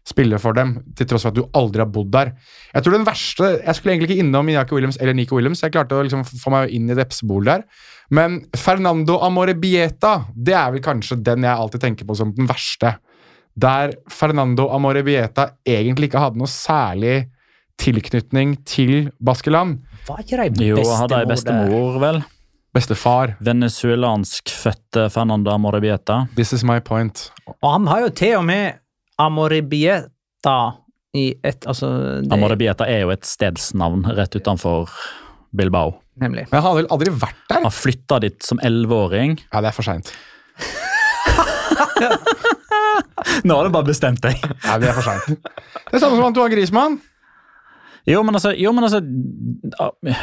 spille for dem, til tross for at du aldri har bodd der. Jeg tror den verste Jeg skulle egentlig ikke innom Inyaki Williams eller Nico Williams. Jeg klarte å liksom få meg inn i det epsebolet der. Men Fernando Amorebieta, det er vel kanskje den jeg alltid tenker på som den verste. Der Fernando Amorebieta egentlig ikke hadde noe særlig tilknytning til Baskeland. Var ikke de Jo, hadde bestemor der? ei bestemor, vel. Bestefar, Venezuelanskfødte Fernanda Morabieta. this is my point. Og han har jo til og med Amoribieta i et Altså det, Amorebieta er jo et stedsnavn rett utenfor Bilbao. Nemlig. Men han hadde vel aldri vært der? Han flytta dit som elleveåring. Ja, det er for seint. Nå har du bare bestemt deg. Ja, det er for sent. Det er samme som Antoine Griezmann. Jo, men altså, jo, men altså,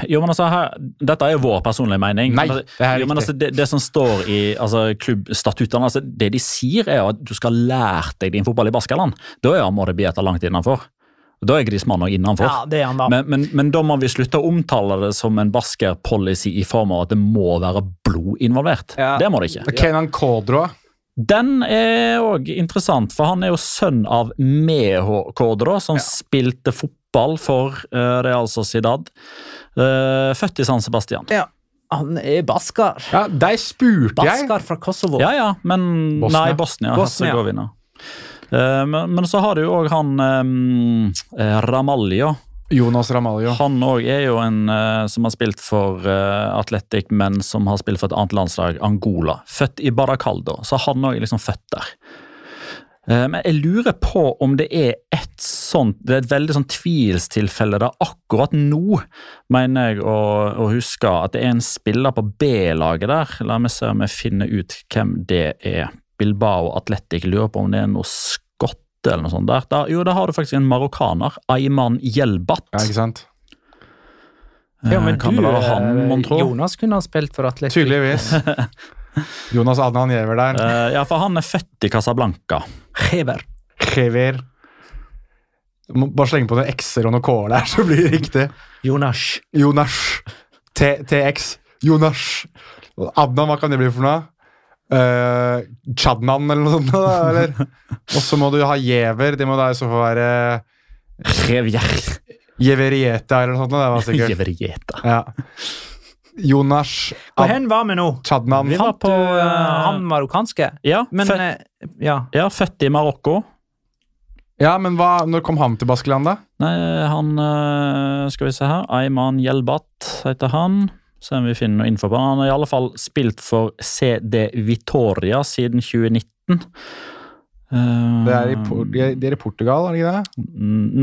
jo, men altså her, Dette er jo vår personlige mening. Nei, Men det altså, er jo, men riktig. altså, det, det som står i altså, klubbstatuttene altså, Det de sier, er jo at du skal ha lært deg din fotball i Baskeland. Da er Amorebieta langt innenfor. Da er Griezmann òg innenfor. Ja, det er han da. Men, men, men da må vi slutte å omtale det som en basker-policy i form av at det må være blod involvert. Ja. Det må det ikke. Kenan Kodro. Den er òg interessant, for han er jo sønn av Meho Cordero, som spilte fotball for eh, Real Sociedad. Eh, født i San Sebastian. ja, han er basker. Ja, der spurte jeg. Basker fra Kosovo. Ja, ja, men Bosnia. Nei, Bosnia. Bosnia. Herzegovina. Eh, men, men så har du jo òg han eh, Ramaljo. Jonas Ramaljo. Han òg er jo en eh, som har spilt for eh, Atletic, men som har spilt for et annet landslag, Angola. Født i Baracaldo, så han òg er liksom født der. Eh, Men jeg lurer på om det er et sånt Det er et veldig sånn tvilstilfelle der akkurat nå, mener jeg å, å huske, at det er en spiller på B-laget der. La meg se om jeg finner ut hvem det er. Bilbao Atletic. Lurer på om det er noe skotte eller noe sånt der. Da, jo, der har du faktisk en marokkaner. Ayman Yelbat. Ja, ikke sant? Ja, men Eh, kan det du, være han, eh, mon tro? Jonas kunne ha spilt for Atletic. Tydeligvis. Jonas Adnan Giæver der. Eh, ja, for han er født i Casablanca. Hever. Krever. Må Bare slenge på noen x-er og noen k-er der, så blir det riktig. Jonas. Jonas. T TX. Jonas. Adnan, hva kan det bli for noe? Eh, Chadnan, eller noe sånt? Da, eller? Og så må du ha Giæver. Det må da i så fall være Revier. Jeverieta eller noe sånt. da, Det var sikkert. Jeverieta. Ja. Jonas Hvor hen var vi nå? Chadnan. Vi var på Du, eh, han eh, marokkanske? ja, Men født, eh, ja. ja, født i Marokko. Ja, men hva, når kom han til Baskeland, da? Nei, han eh, Skal vi se her. Ayman Yelbat heter han. Se om vi finner noe info på han. Han har i alle fall spilt for CD Vitoria siden 2019. Eh, Det er i, Por- det er i Portugal, er det ikke det?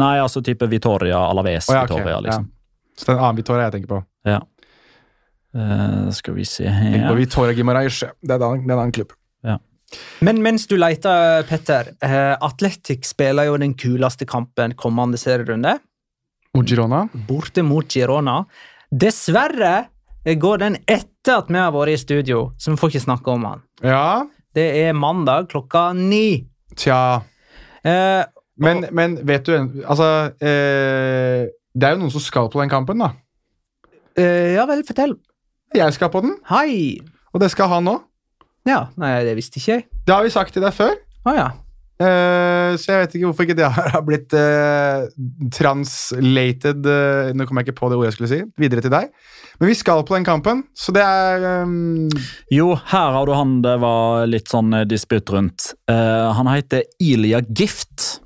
Nei, altså type Vitoria, Alaves Å, ja, ok, Vitoria, liksom. ja. Så det er en annen Vitoria jeg tenker på. Eh, skal vi se Jeg her tenker på Vitoria Guimaraes. Det er en annen, det er en annen klubb. Men mens du leter, Petter. Eh, Atletic spiller jo den kuleste kampen kommende serierunde. Ogirona. Borte mot Girona. Dessverre eh, går den etter at vi har vært i studio, så vi får ikke snakke om han. Ja, Det er mandag klokka ni. tja. Eh, Men, men vet du en- Altså, eh, det er jo noen som skal på den kampen, da. eh, ja vel, fortell. Jeg skal på den, Hei! og det skal han òg. Ja, nei, det visste ikke jeg. Det har vi sagt til deg før, Å ja. eh, så jeg vet ikke hvorfor ikke det har har blitt eh, translated eh, Nå kom jeg ikke på det ordet jeg skulle si. Videre til deg. Men vi skal på den kampen, så det er eh, Jo, her har du han det var litt sånn eh, disputt rundt. Eh, han heter Ilya Gift.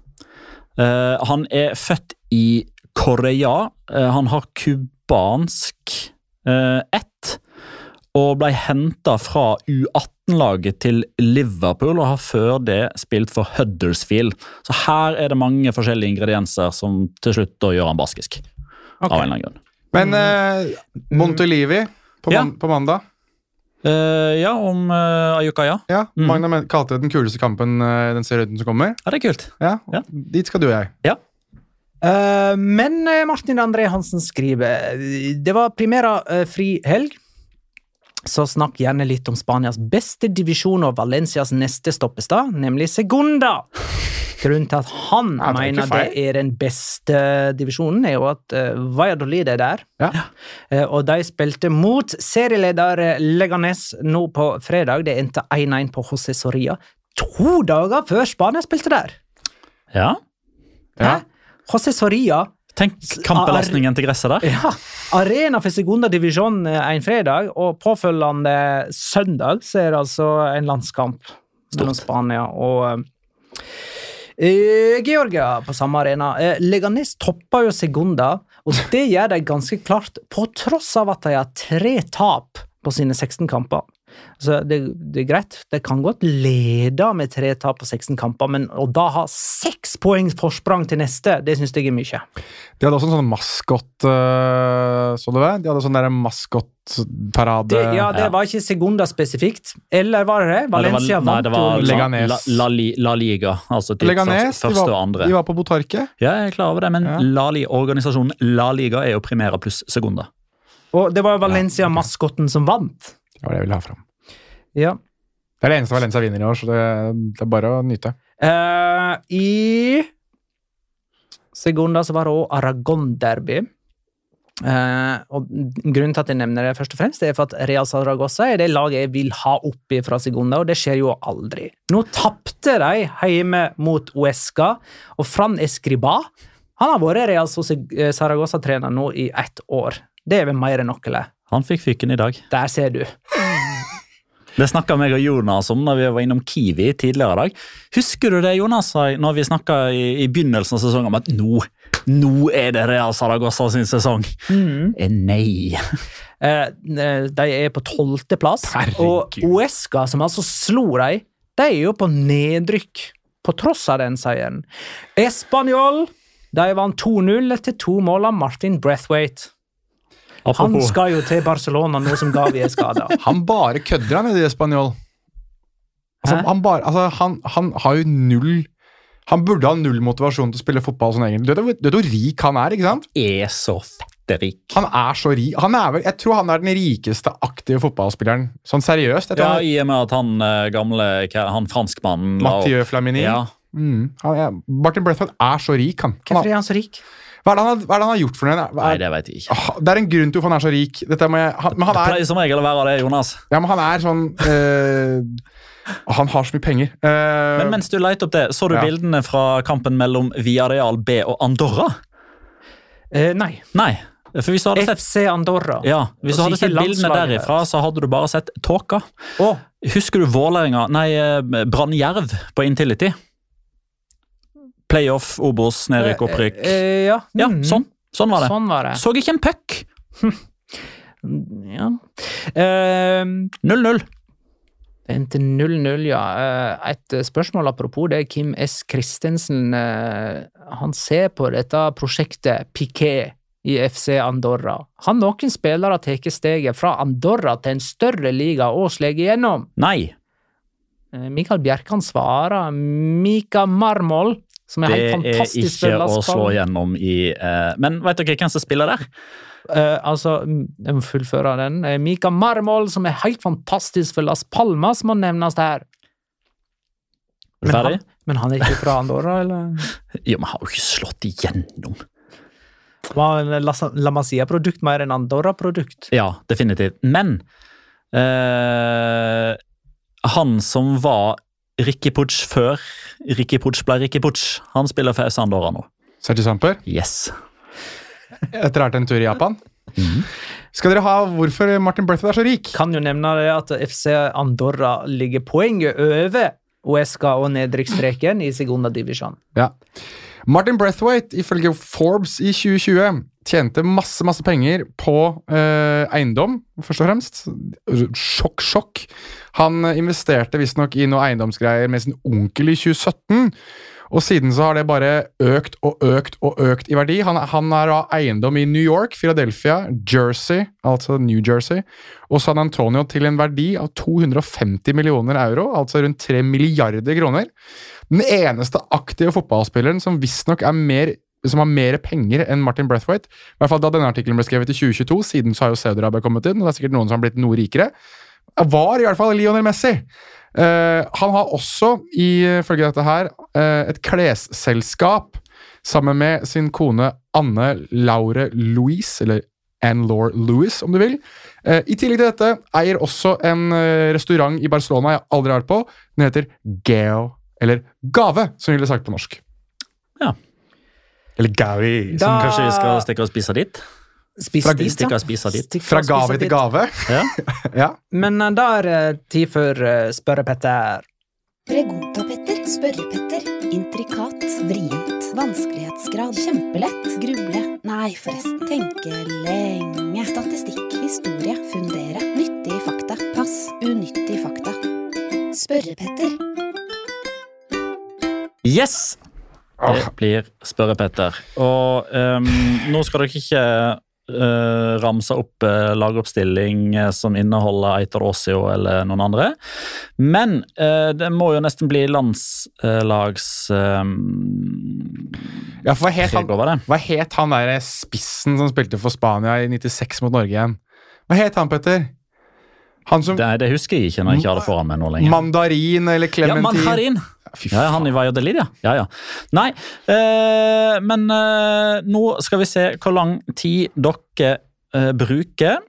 Eh, han er født i Korea. Eh, han har kubansk uh, ett. Og ble henta fra U18-laget til Liverpool og har før det spilt for Huddersfield. Så her er det mange forskjellige ingredienser som til slutt da gjør han baskisk. Av en eller annen grunn. Men eh, Montolivi på, Ja. man, på mandag Eh, ja, om eh, Ayuka, ja. ja, Mm. Magna men- kalte det den kuleste kampen eh, den serien som kommer. Ja, det er kult. Ja, Ja. Dit skal du og jeg. Eh, men eh, Martin André Hansen skriver Det var primæra eh, fri helg. Så snakk gjerne litt om Spanias beste divisjon og Valencias neste stoppestad, nemlig Segunda. Grunnen til at han Ja, det er ikke mener det feil. er den beste divisjonen, er jo at eh, Valladolid er der. Ja. Eh, og de spilte mot serieleder eh, Leganes nå på fredag. Det endte 1-1 på José Soria. To dager før Spania spilte der! Ja. Ja. Hæ? José Soria Tenk kampbelastningen til gresset der. Ja, Arena for Segunda divisjon eh, en fredag, og påfølgende søndag så er det altså en landskamp mellom Spania og eh, Georgia på samme arena. Eh, Leganes topper jo Segunda, og det gjør de ganske klart på tross av at de har tre tap på sine 16 kamper. Så det, det er greit, de kan godt lede med tre tap på 16 kamper, men å da ha seks poengs forsprang til neste, det syns jeg er mye. De hadde også en sånn maskott eh, Så du det? De hadde sånn der maskottparade Det, ja, det Ja. var ikke Segunda spesifikt. Eller var det det? Valencia nei, det vant jo. var Lega- Leganes. Leganes. La, la, Li- la Liga, altså til Leganes, første, de første og var, andre. de var på Botarque. Ja, jeg er klar over det, men Ja. la Li, organisasjonen La Liga er jo primæra pluss sekunder. Og det var Valencia-maskotten som vant. Det var det jeg ville ha fram. Ja. Det er det eneste Valencia vinner i år, så det, det er bare å nyte. Eh, I Segunda så var det òg Aragon-derby. Eh, og Grunnen til at jeg nevner det, først og fremst, det er for at Real Saragossa er det laget jeg vil ha oppi fra Segunda, og det skjer jo aldri. Nå tapte de hjemme mot Uesca, og Fran Escriba han har vært Real Saragossa-trener nå i ett år. Det er vel mer enn nok, eller? Han fikk fyken i dag. Der ser du. Det snakka meg og Jonas om når vi var innom Kiwi tidligere i dag. Husker du det, Jonas, når vi snakka i, i begynnelsen av sesongen om at nå, nå er det Real Saragossa sin sesong? Mm. Eh, Nei. Eh, eh, de er på tolvteplass. Og Uesca, som altså slo dem, de er jo på nedrykk på tross av den seieren. Español de vant 2-0 etter to mål av Martin Brathwaite. Han Apropos, skal jo til Barcelona nå som Gavi er skada. Han bare kødder han i spanjol. Altså, Hæ? han, bare, altså han, han har jo null Han burde ha null motivasjon til å spille fotball sånn egentlig. Du vet, du vet hvor rik han er, ikke sant? er så fetterik. Han er så rik. Han er vel, jeg tror han er den rikeste aktive fotballspilleren. Sånn seriøst. Jeg tror Ja, han, i og med at han eh, gamle, hva- han franskmannen la opp- Mathieu Flamini. Ja, Mm, han er, Martin Brethwaite er så rik, han. han Hvorfor har, er han så rik? hva, er det han har, hva er det han har gjort for noe? Hva Nei, er- det vet jeg ikke. Ah, Det er en grunn til hvorfor han er så rik. Dette må jeg, han, men, han Det er, pleier som regel å være det, Jonas. ja, men han er sånn eh, Han har så mye penger. Eh, Men mens du leter opp det, så du Ja. bildene fra kampen mellom Villarreal B og Andorra? Eh, nei. Nei, for hvis du hadde sett, FC Andorra. ja, hvis du Altså, hadde sett ikke bildene landslaget derifra, så hadde du bare sett tåka. Å, Husker du Vålerenga Nei, eh, Brann Jerv på Intility? Playoff, Obos, nedrykk, opprykk. eh, ja. Ja, Mm. sånn. Sånn var det. Sånn var det. Så ikke en puck! Ja. Eh, 0-0. Det endte 0-0, ja. Eh, Et spørsmål apropos det. Kim S. Christensen eh, han ser på dette prosjektet Piquet i FC Andorra. Har noen spillere tatt steget fra Andorra til en større liga og slått igjennom? Nei. Eh, Mikael Bjerkan svarer Mika Marmol, som er Det helt er fantastisk ikke å slå spiller. gjennom i eh, Men vet dere hvem som spiller der? Eh, altså, mm, jeg må fullføre den. Eh, Mika Marmol, som er helt fantastisk for Las Palmas, må nevnes her. Er du Men ferdig? han, men han er ikke fra Andorra, eller? Jo, men han har jo ikke slått igjennom. Var La, La Masia-produkt mer enn Andorra-produkt? Ja, definitivt. Men eh, han som var Ricky Putsch før Ricky Putsch ble Ricky Putsch. Han spiller for Saundora nå. Sergi Samper, Yes. etter hvert en tur i Japan. Mm. Skal dere ha hvorfor Martin Bertha er så rik? Kan jo nevne det at FC Andorra ligger poenget over OSK og nedrykksstreken i segunda divisjon. Ja. Martin Brethwaite, ifølge Forbes i 2020, tjente masse masse penger på eh, eiendom, først og fremst. Sjokk, sjokk. Han investerte visstnok i noe eiendomsgreier med sin onkel i 2017. Og siden så har det bare økt og økt og økt i verdi. Han, han har da eiendom i New York, Philadelphia, Jersey, altså New Jersey, og San Antonio til en verdi av 250 millioner euro, altså rundt 3 milliarder kroner. Den eneste aktive fotballspilleren som visstnok er mer som har mer penger enn Martin Brathwaite. I hvert fall da denne artikkelen ble skrevet i 2022, siden så har jo Saudi-Arabia kommet inn, og det er sikkert noen som har blitt noe rikere. Var i hvert fall Lionel Messi. Eh, han har også, ifølge dette her, eh, et klesselskap sammen med sin kone Anne Laure Louise, eller Anne-Laure Louis, om du vil. Eh, I tillegg til dette eier også en eh, restaurant i Barcelona jeg aldri har vært på. Den heter Geo, eller Gave, som vi ville sagt på norsk. Ja. Eller Gavi. Som Da- kanskje vi skal stikke og spise dit? Spis Fra- dit, ja. Stikke og spise dit. Stikk Fra og spis gave til dit. gave. Ja. ja. Men eh, da er det tid for eh, spørre Petter. Pregunta-Petter, spørre-Petter, intrikat, vrient, vanskelighetsgrad, kjempelett, gruble, nei forresten, tenke lenge, statistikk, historie, fundere, nyttige fakta, pass, unyttige fakta. Spørre-Petter. Yes! Det blir Spørre Petter. Og ehm, nå skal dere ikke eh, ramse opp eh, lagoppstilling eh, som inneholder Eitar Åsio eller noen andre. Men eh, det må jo nesten bli landslags... Um, ja, for hva het han, over det. hva het han der spissen som spilte for Spania i 96 mot Norge igjen? Hva het han, Petter? Han som det. Det husker jeg ikke når jeg ikke har det foran meg nå lenger. Mandarin eller Ja, man Clementin? tar inn. Fy Ja, han i Valladolid, ja. ja, ja. Nei, eh, men eh, nå skal vi se hvor lang tid dere eh, bruker.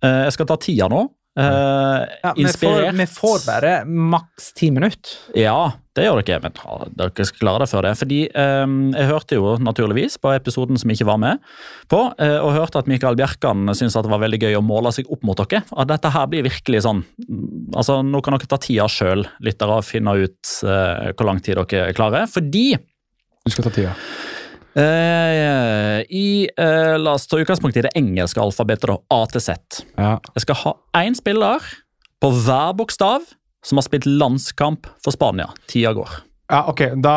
Eh, jeg skal ta tida nå. Eh, Ja, vi, får, inspirert. vi får bare maks ti minutter. Ja, det gjør dere. Men ja, dere skal klare det før det. Fordi eh, jeg hørte jo naturligvis på episoden som jeg ikke var med på, eh, og hørte at Mikael Bjerkan syntes at det var veldig gøy å måle seg opp mot dere. At dette her blir virkelig sånn mm, Altså, nå kan dere ta tida sjøl, lyttere, og finne ut eh, hvor lang tid dere klarer. Fordi Du skal ta tida. eh, i eh, La oss ta utgangspunkt i det engelske alfabetet, da. A til Z. Ja. Jeg skal ha én spiller på hver bokstav som har spilt landskamp for Spania. Tida går. Ja, ok. Da,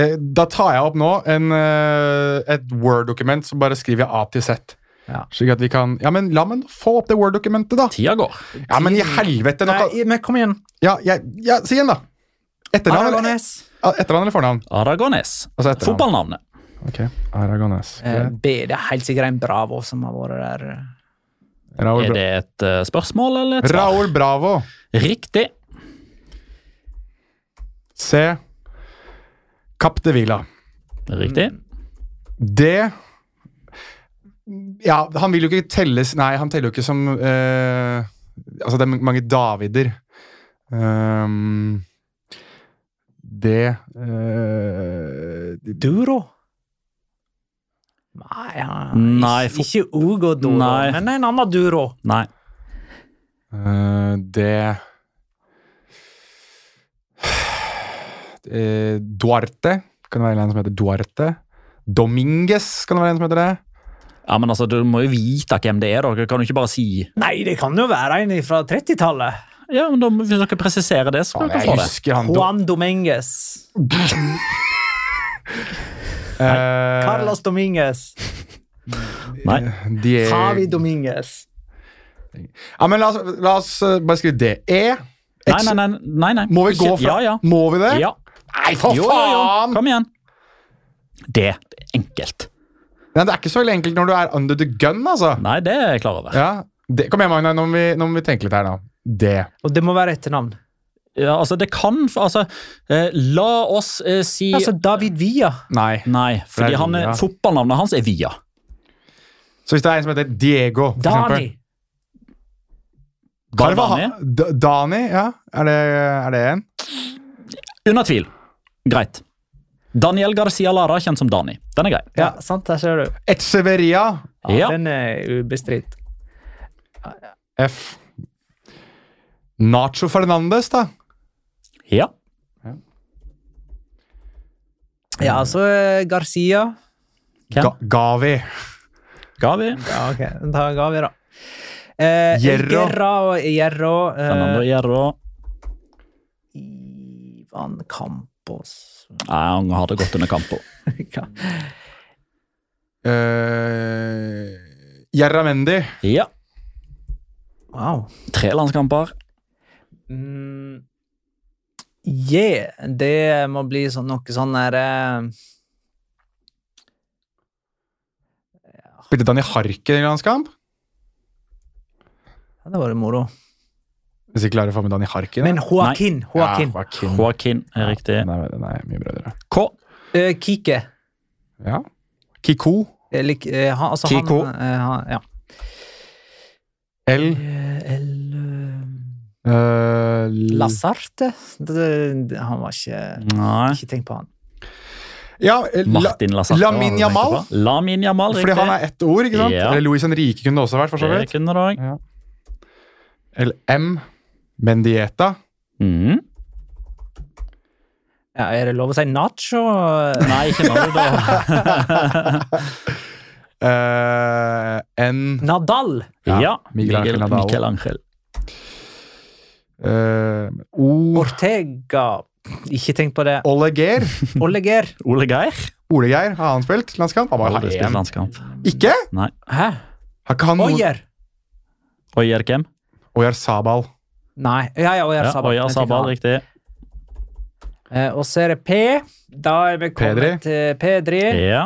eh, da tar jeg opp nå en, eh, et Word-dokument, så bare skriver jeg A til Z. Ja. Slik at vi kan Ja, men la meg få opp det Word-dokumentet, da! Tida går. Ja, men i helvete! Nå Nei, kan, men kom igjen. ja, ja, ja, si igjen, da! Etternavn eller, Aragones. ja, etternavn eller fornavn? Aragones. Altså etternavn. Fotballnavnet. Ok, Aragones. Eh, B, det er helt sikkert en Bravo som har vært der. Raoul, Er Bra det et eh, spørsmål eller et svar? Raoul Bravo. Riktig. C. Kapp de Villa. Riktig. Mm. Det Ja, han vil jo ikke telles Nei, han teller jo ikke som eh, Altså, det er mange Davider. Ehm, det eh, Duro? Nei, ja, Nei, ikke, ikke Ugo Duro, Nei. men en annen Duro. Nei. eh, Det Eh, Duarte. Kan det være en som heter Duarte? Dominguez, kan det være en som heter det? Ja, men altså, Du må jo vite hvem det er. Dere kan jo ikke bare si Nei, det kan jo være en fra 30-tallet. Ja, men da, må- Hvis dere presiserer det, så kan dere Jeg få det. husker han Do- Juan Dominguez. eh, Carlos Dominguez. Nei. Diego- Javi Dominguez. Ja, men la oss, la oss eh, bare skrive det. E. Nei, nei, nei. nei, nei. Må vi gå Ja, fra ja. Må vi det? ja. Nei, for Jo, jo, jo. faen! Kom igjen. Det er enkelt. Nei, det er ikke så veldig enkelt når du er under the gun, altså. Nei, det er jeg klar over. Ja, det, kom igjen, Magnar, nå må vi, nå må vi tenke litt her nå. Det. Og det må være etternavn. Ja, altså, det kan Altså, eh, la oss eh, si Altså David Villa. Nei. Nei, Det fordi er han er, Villa. fotballnavnet hans er Via. Så hvis det er en som heter Diego, for Dani. eksempel. Bare Carvaha- Dani? D- Dani, ja. Er det, er det en? Under tvil. Greit. Daniel Garcia Lara, kjent som Dani. Den er grei. Ja, sant, der ser du. Etseveria. Ja, Ja. Den er ubestridt. F. Nacho Fernandes, da. Ja. Ja, altså eh, Garcia. Hvem? Ga Gavi. Gavi. Ja, ok, da ga vi da. Eh, Hierro. Guerra og Hierro. Fernando Eh, Hierro. Ivan Campos. Nei, han har det godt under kampo. Ja. Uh, Jerramendi. Ja. Wow. Tre landskamper. Mm. Yeah, det må bli sånn, noe sånn der eh, Spilte Dani Harken i landskamp? Det var det moro. Hvis ikke klarer å få med Dani Harken. Men Joaquin. Joaquin. Ja, Joaquin. Joaquin er riktig. Den, er, den er mye bedre. K. Eh, Kike. Ja. Kiko. Eller, eh, han, altså, Kiko. Han, eh, han, ja. L. Eh, El, eh, eh, L- Lazarte? Det, det, han var ikke Nei. Ikke tenk på han. Ja, eh, La, Martin Lazarte. var det Lamin du tenkte Jamal? på. Lamin Jamal, riktig. fordi han er ett ord, ikke sant? Ja. Eller Louis Henrique kunne det også vært. for så Det vidt. kunne du òg. Eller M. Mendieta. Mm. Ja, er det lov å si nacho? Nei, ikke Norge, da. eh, N. Nadal! Ja, Ja. Miguel Angel Miguel, Nadal. Miguel Angel. eh, O. Ortega. Ikke tenk på det. Oleger. Oleger. Ole Geir. Olegeir, har han spilt landskamp? Han bare har Aldri spilt én. landskamp. Ikke? Nei. Hæ? Har ikke han noen Oyer! Oyer hvem? Oyar Sabal. Nei. Ja, ja, Oyer Ja, Sabal. Oyer Jeg tenker Sabal, han. riktig. Eh, og så er det P. Da er vi kommet Pedri. til Pedri. Ja.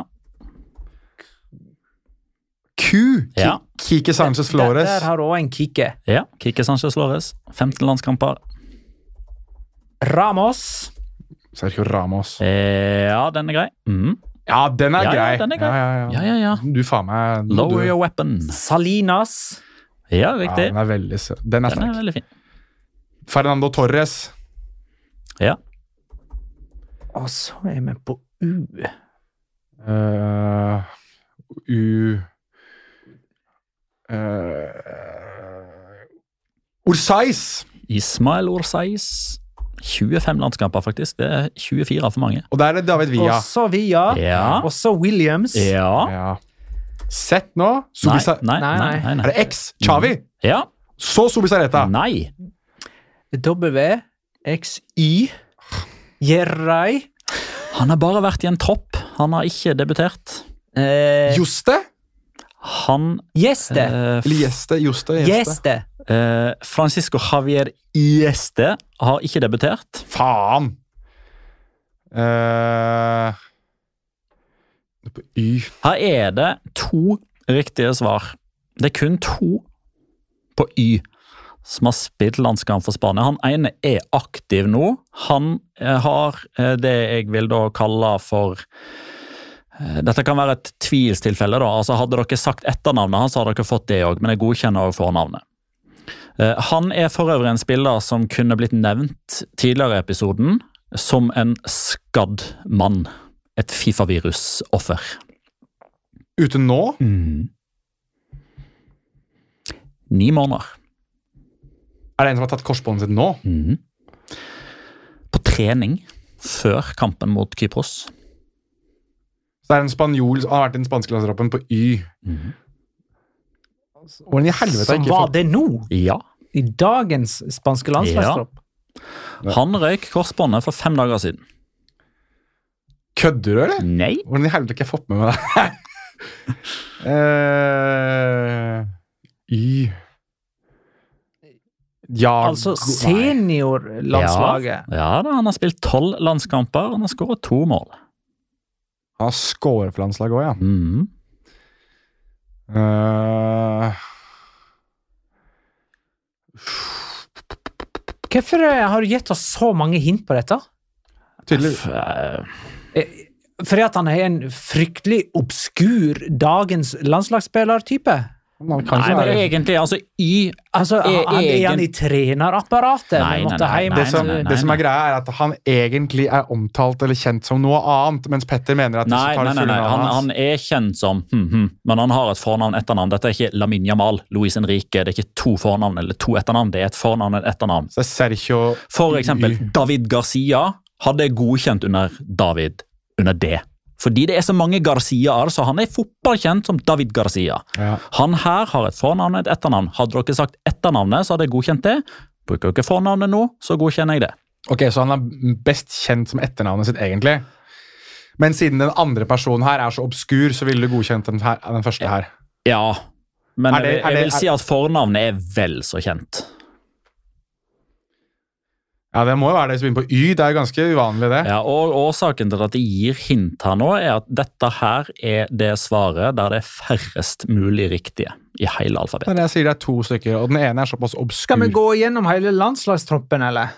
Q. Ki- Ja. Kike Sanchez Der, Flores. der har du òg en kike. ja. Kike Sanchez Flores. 15 landskamper. Ramos. Sergio Ramos. Eh, Ja, den er grei. Mm. Ja, den er Ja, ja, grei. den er grei. Ja, ja, Ja, ja. ja, ja. Du, faen meg du, Lower your weapon. Salinas. Ja, ja, riktig. Den er veldig søt. Den er Den er sterk. veldig fin. Fernando Torres. Ja. Og så er vi på U. Eh, U eh, Orsais! Ismael Orsais. 25 landskamper, faktisk. Det er 24 for mange. Og der er det David Villa. Og så Via. Ja. Og så Williams. Ja. Ja. Sett nå. Nei, Subisa nei, Nei, nei. nei, Mm. Er nei. det X? Chavi? Ja. Så Subisareta. Nei. W. X. Y. Jerrai. Han har bare vært i en tropp. Han har ikke debutert. Eh, Joste? Han Gjeste. eh, Eller Gjeste? Joste? Gjeste. Gjeste. eh, Francisco Javier Ieste har ikke debutert. Faen! Eh, på Y Her er det to riktige svar. Det er kun to på Y som har spilt landskamp for Spania. Han ene er aktiv nå. Han eh, har eh, det jeg vil da kalle for eh, dette kan være et tvilstilfelle. da, altså Hadde dere sagt etternavnet hans, hadde dere fått det òg, men jeg godkjenner òg fornavnet. Eh, Han er for øvrig en spiller som kunne blitt nevnt tidligere i episoden som en skadd mann. Et Fifa-virusoffer. Ute nå? Mm. Ni måneder. Er det en som har tatt korsbåndet sitt nå? Mm. På trening før kampen mot Kypros. Så det er en spanjol som har vært i den spanske landstroppen på Y. Altså, Hvordan i helvete har Mm. Som jeg ikke var fått det nå, Ja. i dagens spanske landslagstropp. Han røyk korsbåndet for fem dager siden. Kødder du, eller? Nei. Hvordan i helvete har jeg ikke fått med meg det? Eh, y Ja Altså seniorlandslaget. Ja da, Han har spilt tolv landskamper og han har skåret to mål. Han har scoret for landslaget òg, ja. Mhm. Eh, Hvorfor eh, har du gitt oss så mange hint på dette? tydelig. F- eh, Eh, Fordi at han er en fryktelig obskur dagens landslagsspillertype? Man kan Nei, ikke men være egentlig, altså i Altså, e- han, er han i egen- trenerapparatet? Nei, Vi nei, måtte nei, hjem. nei, det som, nei, nei, det som nei. er greia, er at han egentlig er omtalt eller kjent som noe annet, mens Petter mener at de Nei, tar nei, nei, det fulle nei. navnet Han, han hans. er kjent som hm, hm, Men han har et fornavn etternavn. Dette er ikke Lamin Jamal, Louise Henrique. Det er ikke to fornavn eller to etternavn. Det er et fornavn og et etternavn. Så det er Sergio For eksempel David Garcia hadde jeg godkjent under David under det. Fordi det er så mange Garciaer, så han er fotballkjent som David Garcia. Ja. Han her har et fornavn og et etternavn. Hadde dere sagt etternavnet, så hadde jeg godkjent det. Bruker dere fornavnet nå, så godkjenner jeg det. Ok, Så han er best kjent som etternavnet sitt, egentlig. Men siden den andre personen her er så obskur, så ville du godkjent den, her, den første her. Ja, men Er det- jeg, vil- er det- jeg vil si at fornavnet er vel så kjent. Ja, Det må jo være det som begynner på Y. Det er jo ganske uvanlig, det. Ja, og Årsaken til at jeg gir hint her nå, er at dette her er det svaret der det er færrest mulig riktige i hele Det alfabetet. er det jeg sier, det er to stykker, og den ene er såpass obskur. Skal Mm. vi gå gjennom hele landslagstroppen, eller?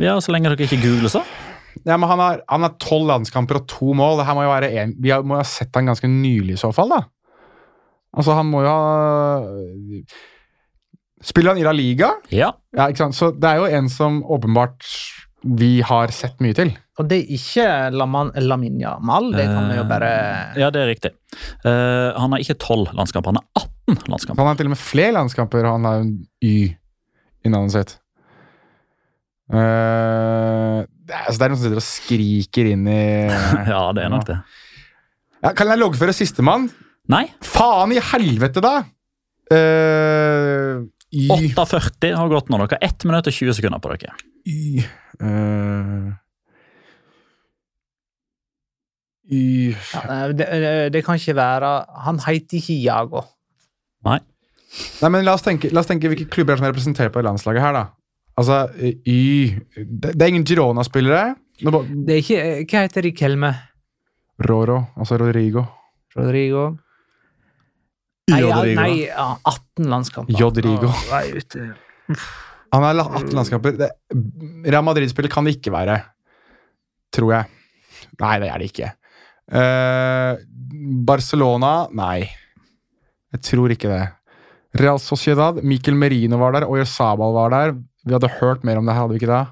Ja, Så lenge dere ikke googler, så. Ja, men Han har- han har tolv landskamper og to mål. Det her må jo være en, vi har, må jo ha sett han ganske nylig i så fall, da. Altså, han må jo ha Spiller han i La Liga? Ja, Ja, ikke sant? Så det er jo en som åpenbart vi har sett mye til. Og det er ikke Laman, Laminia Mal, det kan Eh. vi jo bare ja det er riktig. Eh, han har ikke tolv landskamper, han har 18 landskamper. Han har til og med flere landskamper, og han har en Y i navnet sitt. Eh, det, er, altså, det er noen som sitter og skriker inn i Ja, det er nok det. ja, Kan jeg loggføre sistemann? Nei, Faen i helvete, da! Eh, y. 8.40 har gått nå. Dere har 1 minutt og 20 sekunder på dere. Y. Eh, y. Ja, eh, det, det- det kan ikke være Han heter ikke Jago. Nei. Nei, men la oss tenke, la oss tenke hvilke klubber er som er representert på det landslaget her, da. Altså, eh, Y Det, det er ingen Girona-spillere. Nå ba- Det er ikke Hva heter Rikelme? Roro, altså Rodrigo. Rodrigo? Nei, ja, Rodrigo. nei ja, 18 landskamper. Jodrigo. Å, nei, ute. Han har la- Mm. 18 landskamper. Det, Real Madrid-spiller kan det ikke være. Tror jeg. Nei, det er det ikke. Eh, Barcelona Nei. Jeg tror ikke det. Real Sociedad. Mikkel Merino var der. Oyarzabal var der. Vi hadde hørt mer om det her, hadde vi ikke det?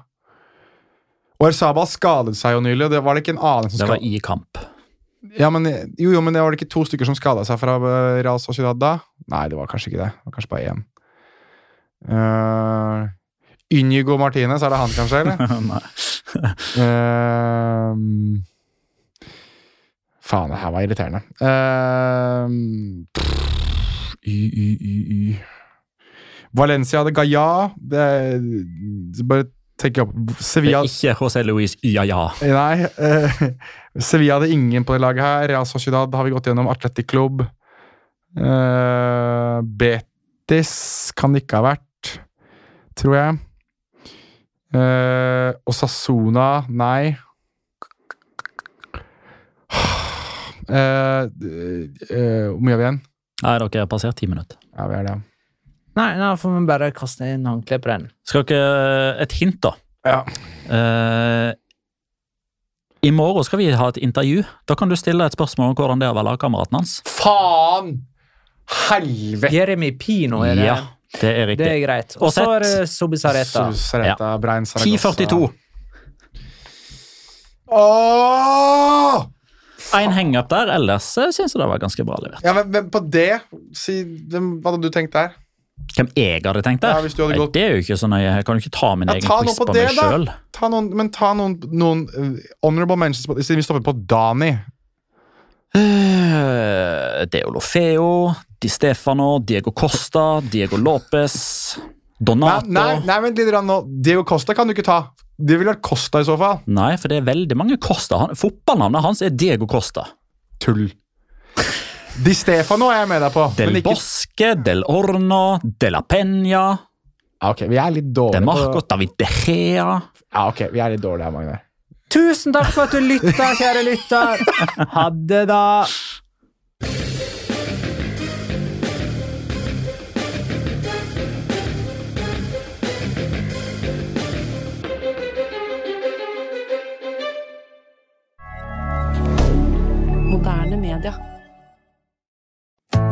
Oyarzabal skadet seg jo nylig. og Det var det ikke en annen som Det skadet var i kamp. Ja, men, jo, jo, men det var det ikke to stykker som skada seg fra eh, Real Sociedad da? Nei, det var kanskje ikke det. Det var kanskje bare én. Uh, Inigo Martinez, er det han kanskje, eller? Nei. Eh, faen, det her var irriterende. Eh, pff, y, y, y, y. Valencia de Gaia det, Bare tenk opp Det Sevilla er ikke José Luis Iaia. Nei. eh, Sevilla hadde ingen på det laget her. Real Sociedad har vi gått gjennom. Atletic Club. Eh, Betis kan det ikke ha vært, tror jeg. Eh, og Sasona Nei. Eh, eh, Hvor mye har vi igjen? Nei, dere har passert 10 minutter. Ja, vi er det. Nei, nå får vi bare kaste inn håndkleet på den. Skal dere eh, Et hint, da. Ja. Eh, I morgen skal vi ha et intervju. Da kan du stille et spørsmål om hvordan det er å være lagkameraten hans. Faen! Helvete! Jeremy Pino er det. Ja, det er Det er riktig. greit. Og Og så sett. er det Subisareta. Sareta, Brein, Saragossa. 10.42. Åh! Én hangup der, ellers eh, syns jeg det var ganske bra levert. Ja, men, men på det si, hvem, Hva hadde du tenkt der? Hvem jeg hadde tenkt der? Ja, hvis du hadde Nei, gått- Det er jo ikke så nøye. Jeg kan jo ikke ta min Ja, egen ta quiz noe på på, det, meg da. sjøl. Ta noen, men ta noen, noen eh, honorable mentions på, Siden vi stopper på Dani. Eh, Deolofeo, Di Stefano, Diego Costa, Diego Lopez, Nei, Donato nei, nei vent litt grann nå. Diego Costa kan du ikke ta. Det ville vært Costa i så fall. Nei, for det er veldig mange Costa. Han, fotballnavnet hans er Diego Costa. Tull. Di Stefano er jeg med deg på. Del men ikke- Bosque, Del Orno, De La Peña, Ja, ok, vi er litt De dårlige Marco, på David De Gea Ja, ok, vi er litt dårlige her, Magne. Tusen takk for at du lytta, kjære lytter. Ha det, da. Moderne media.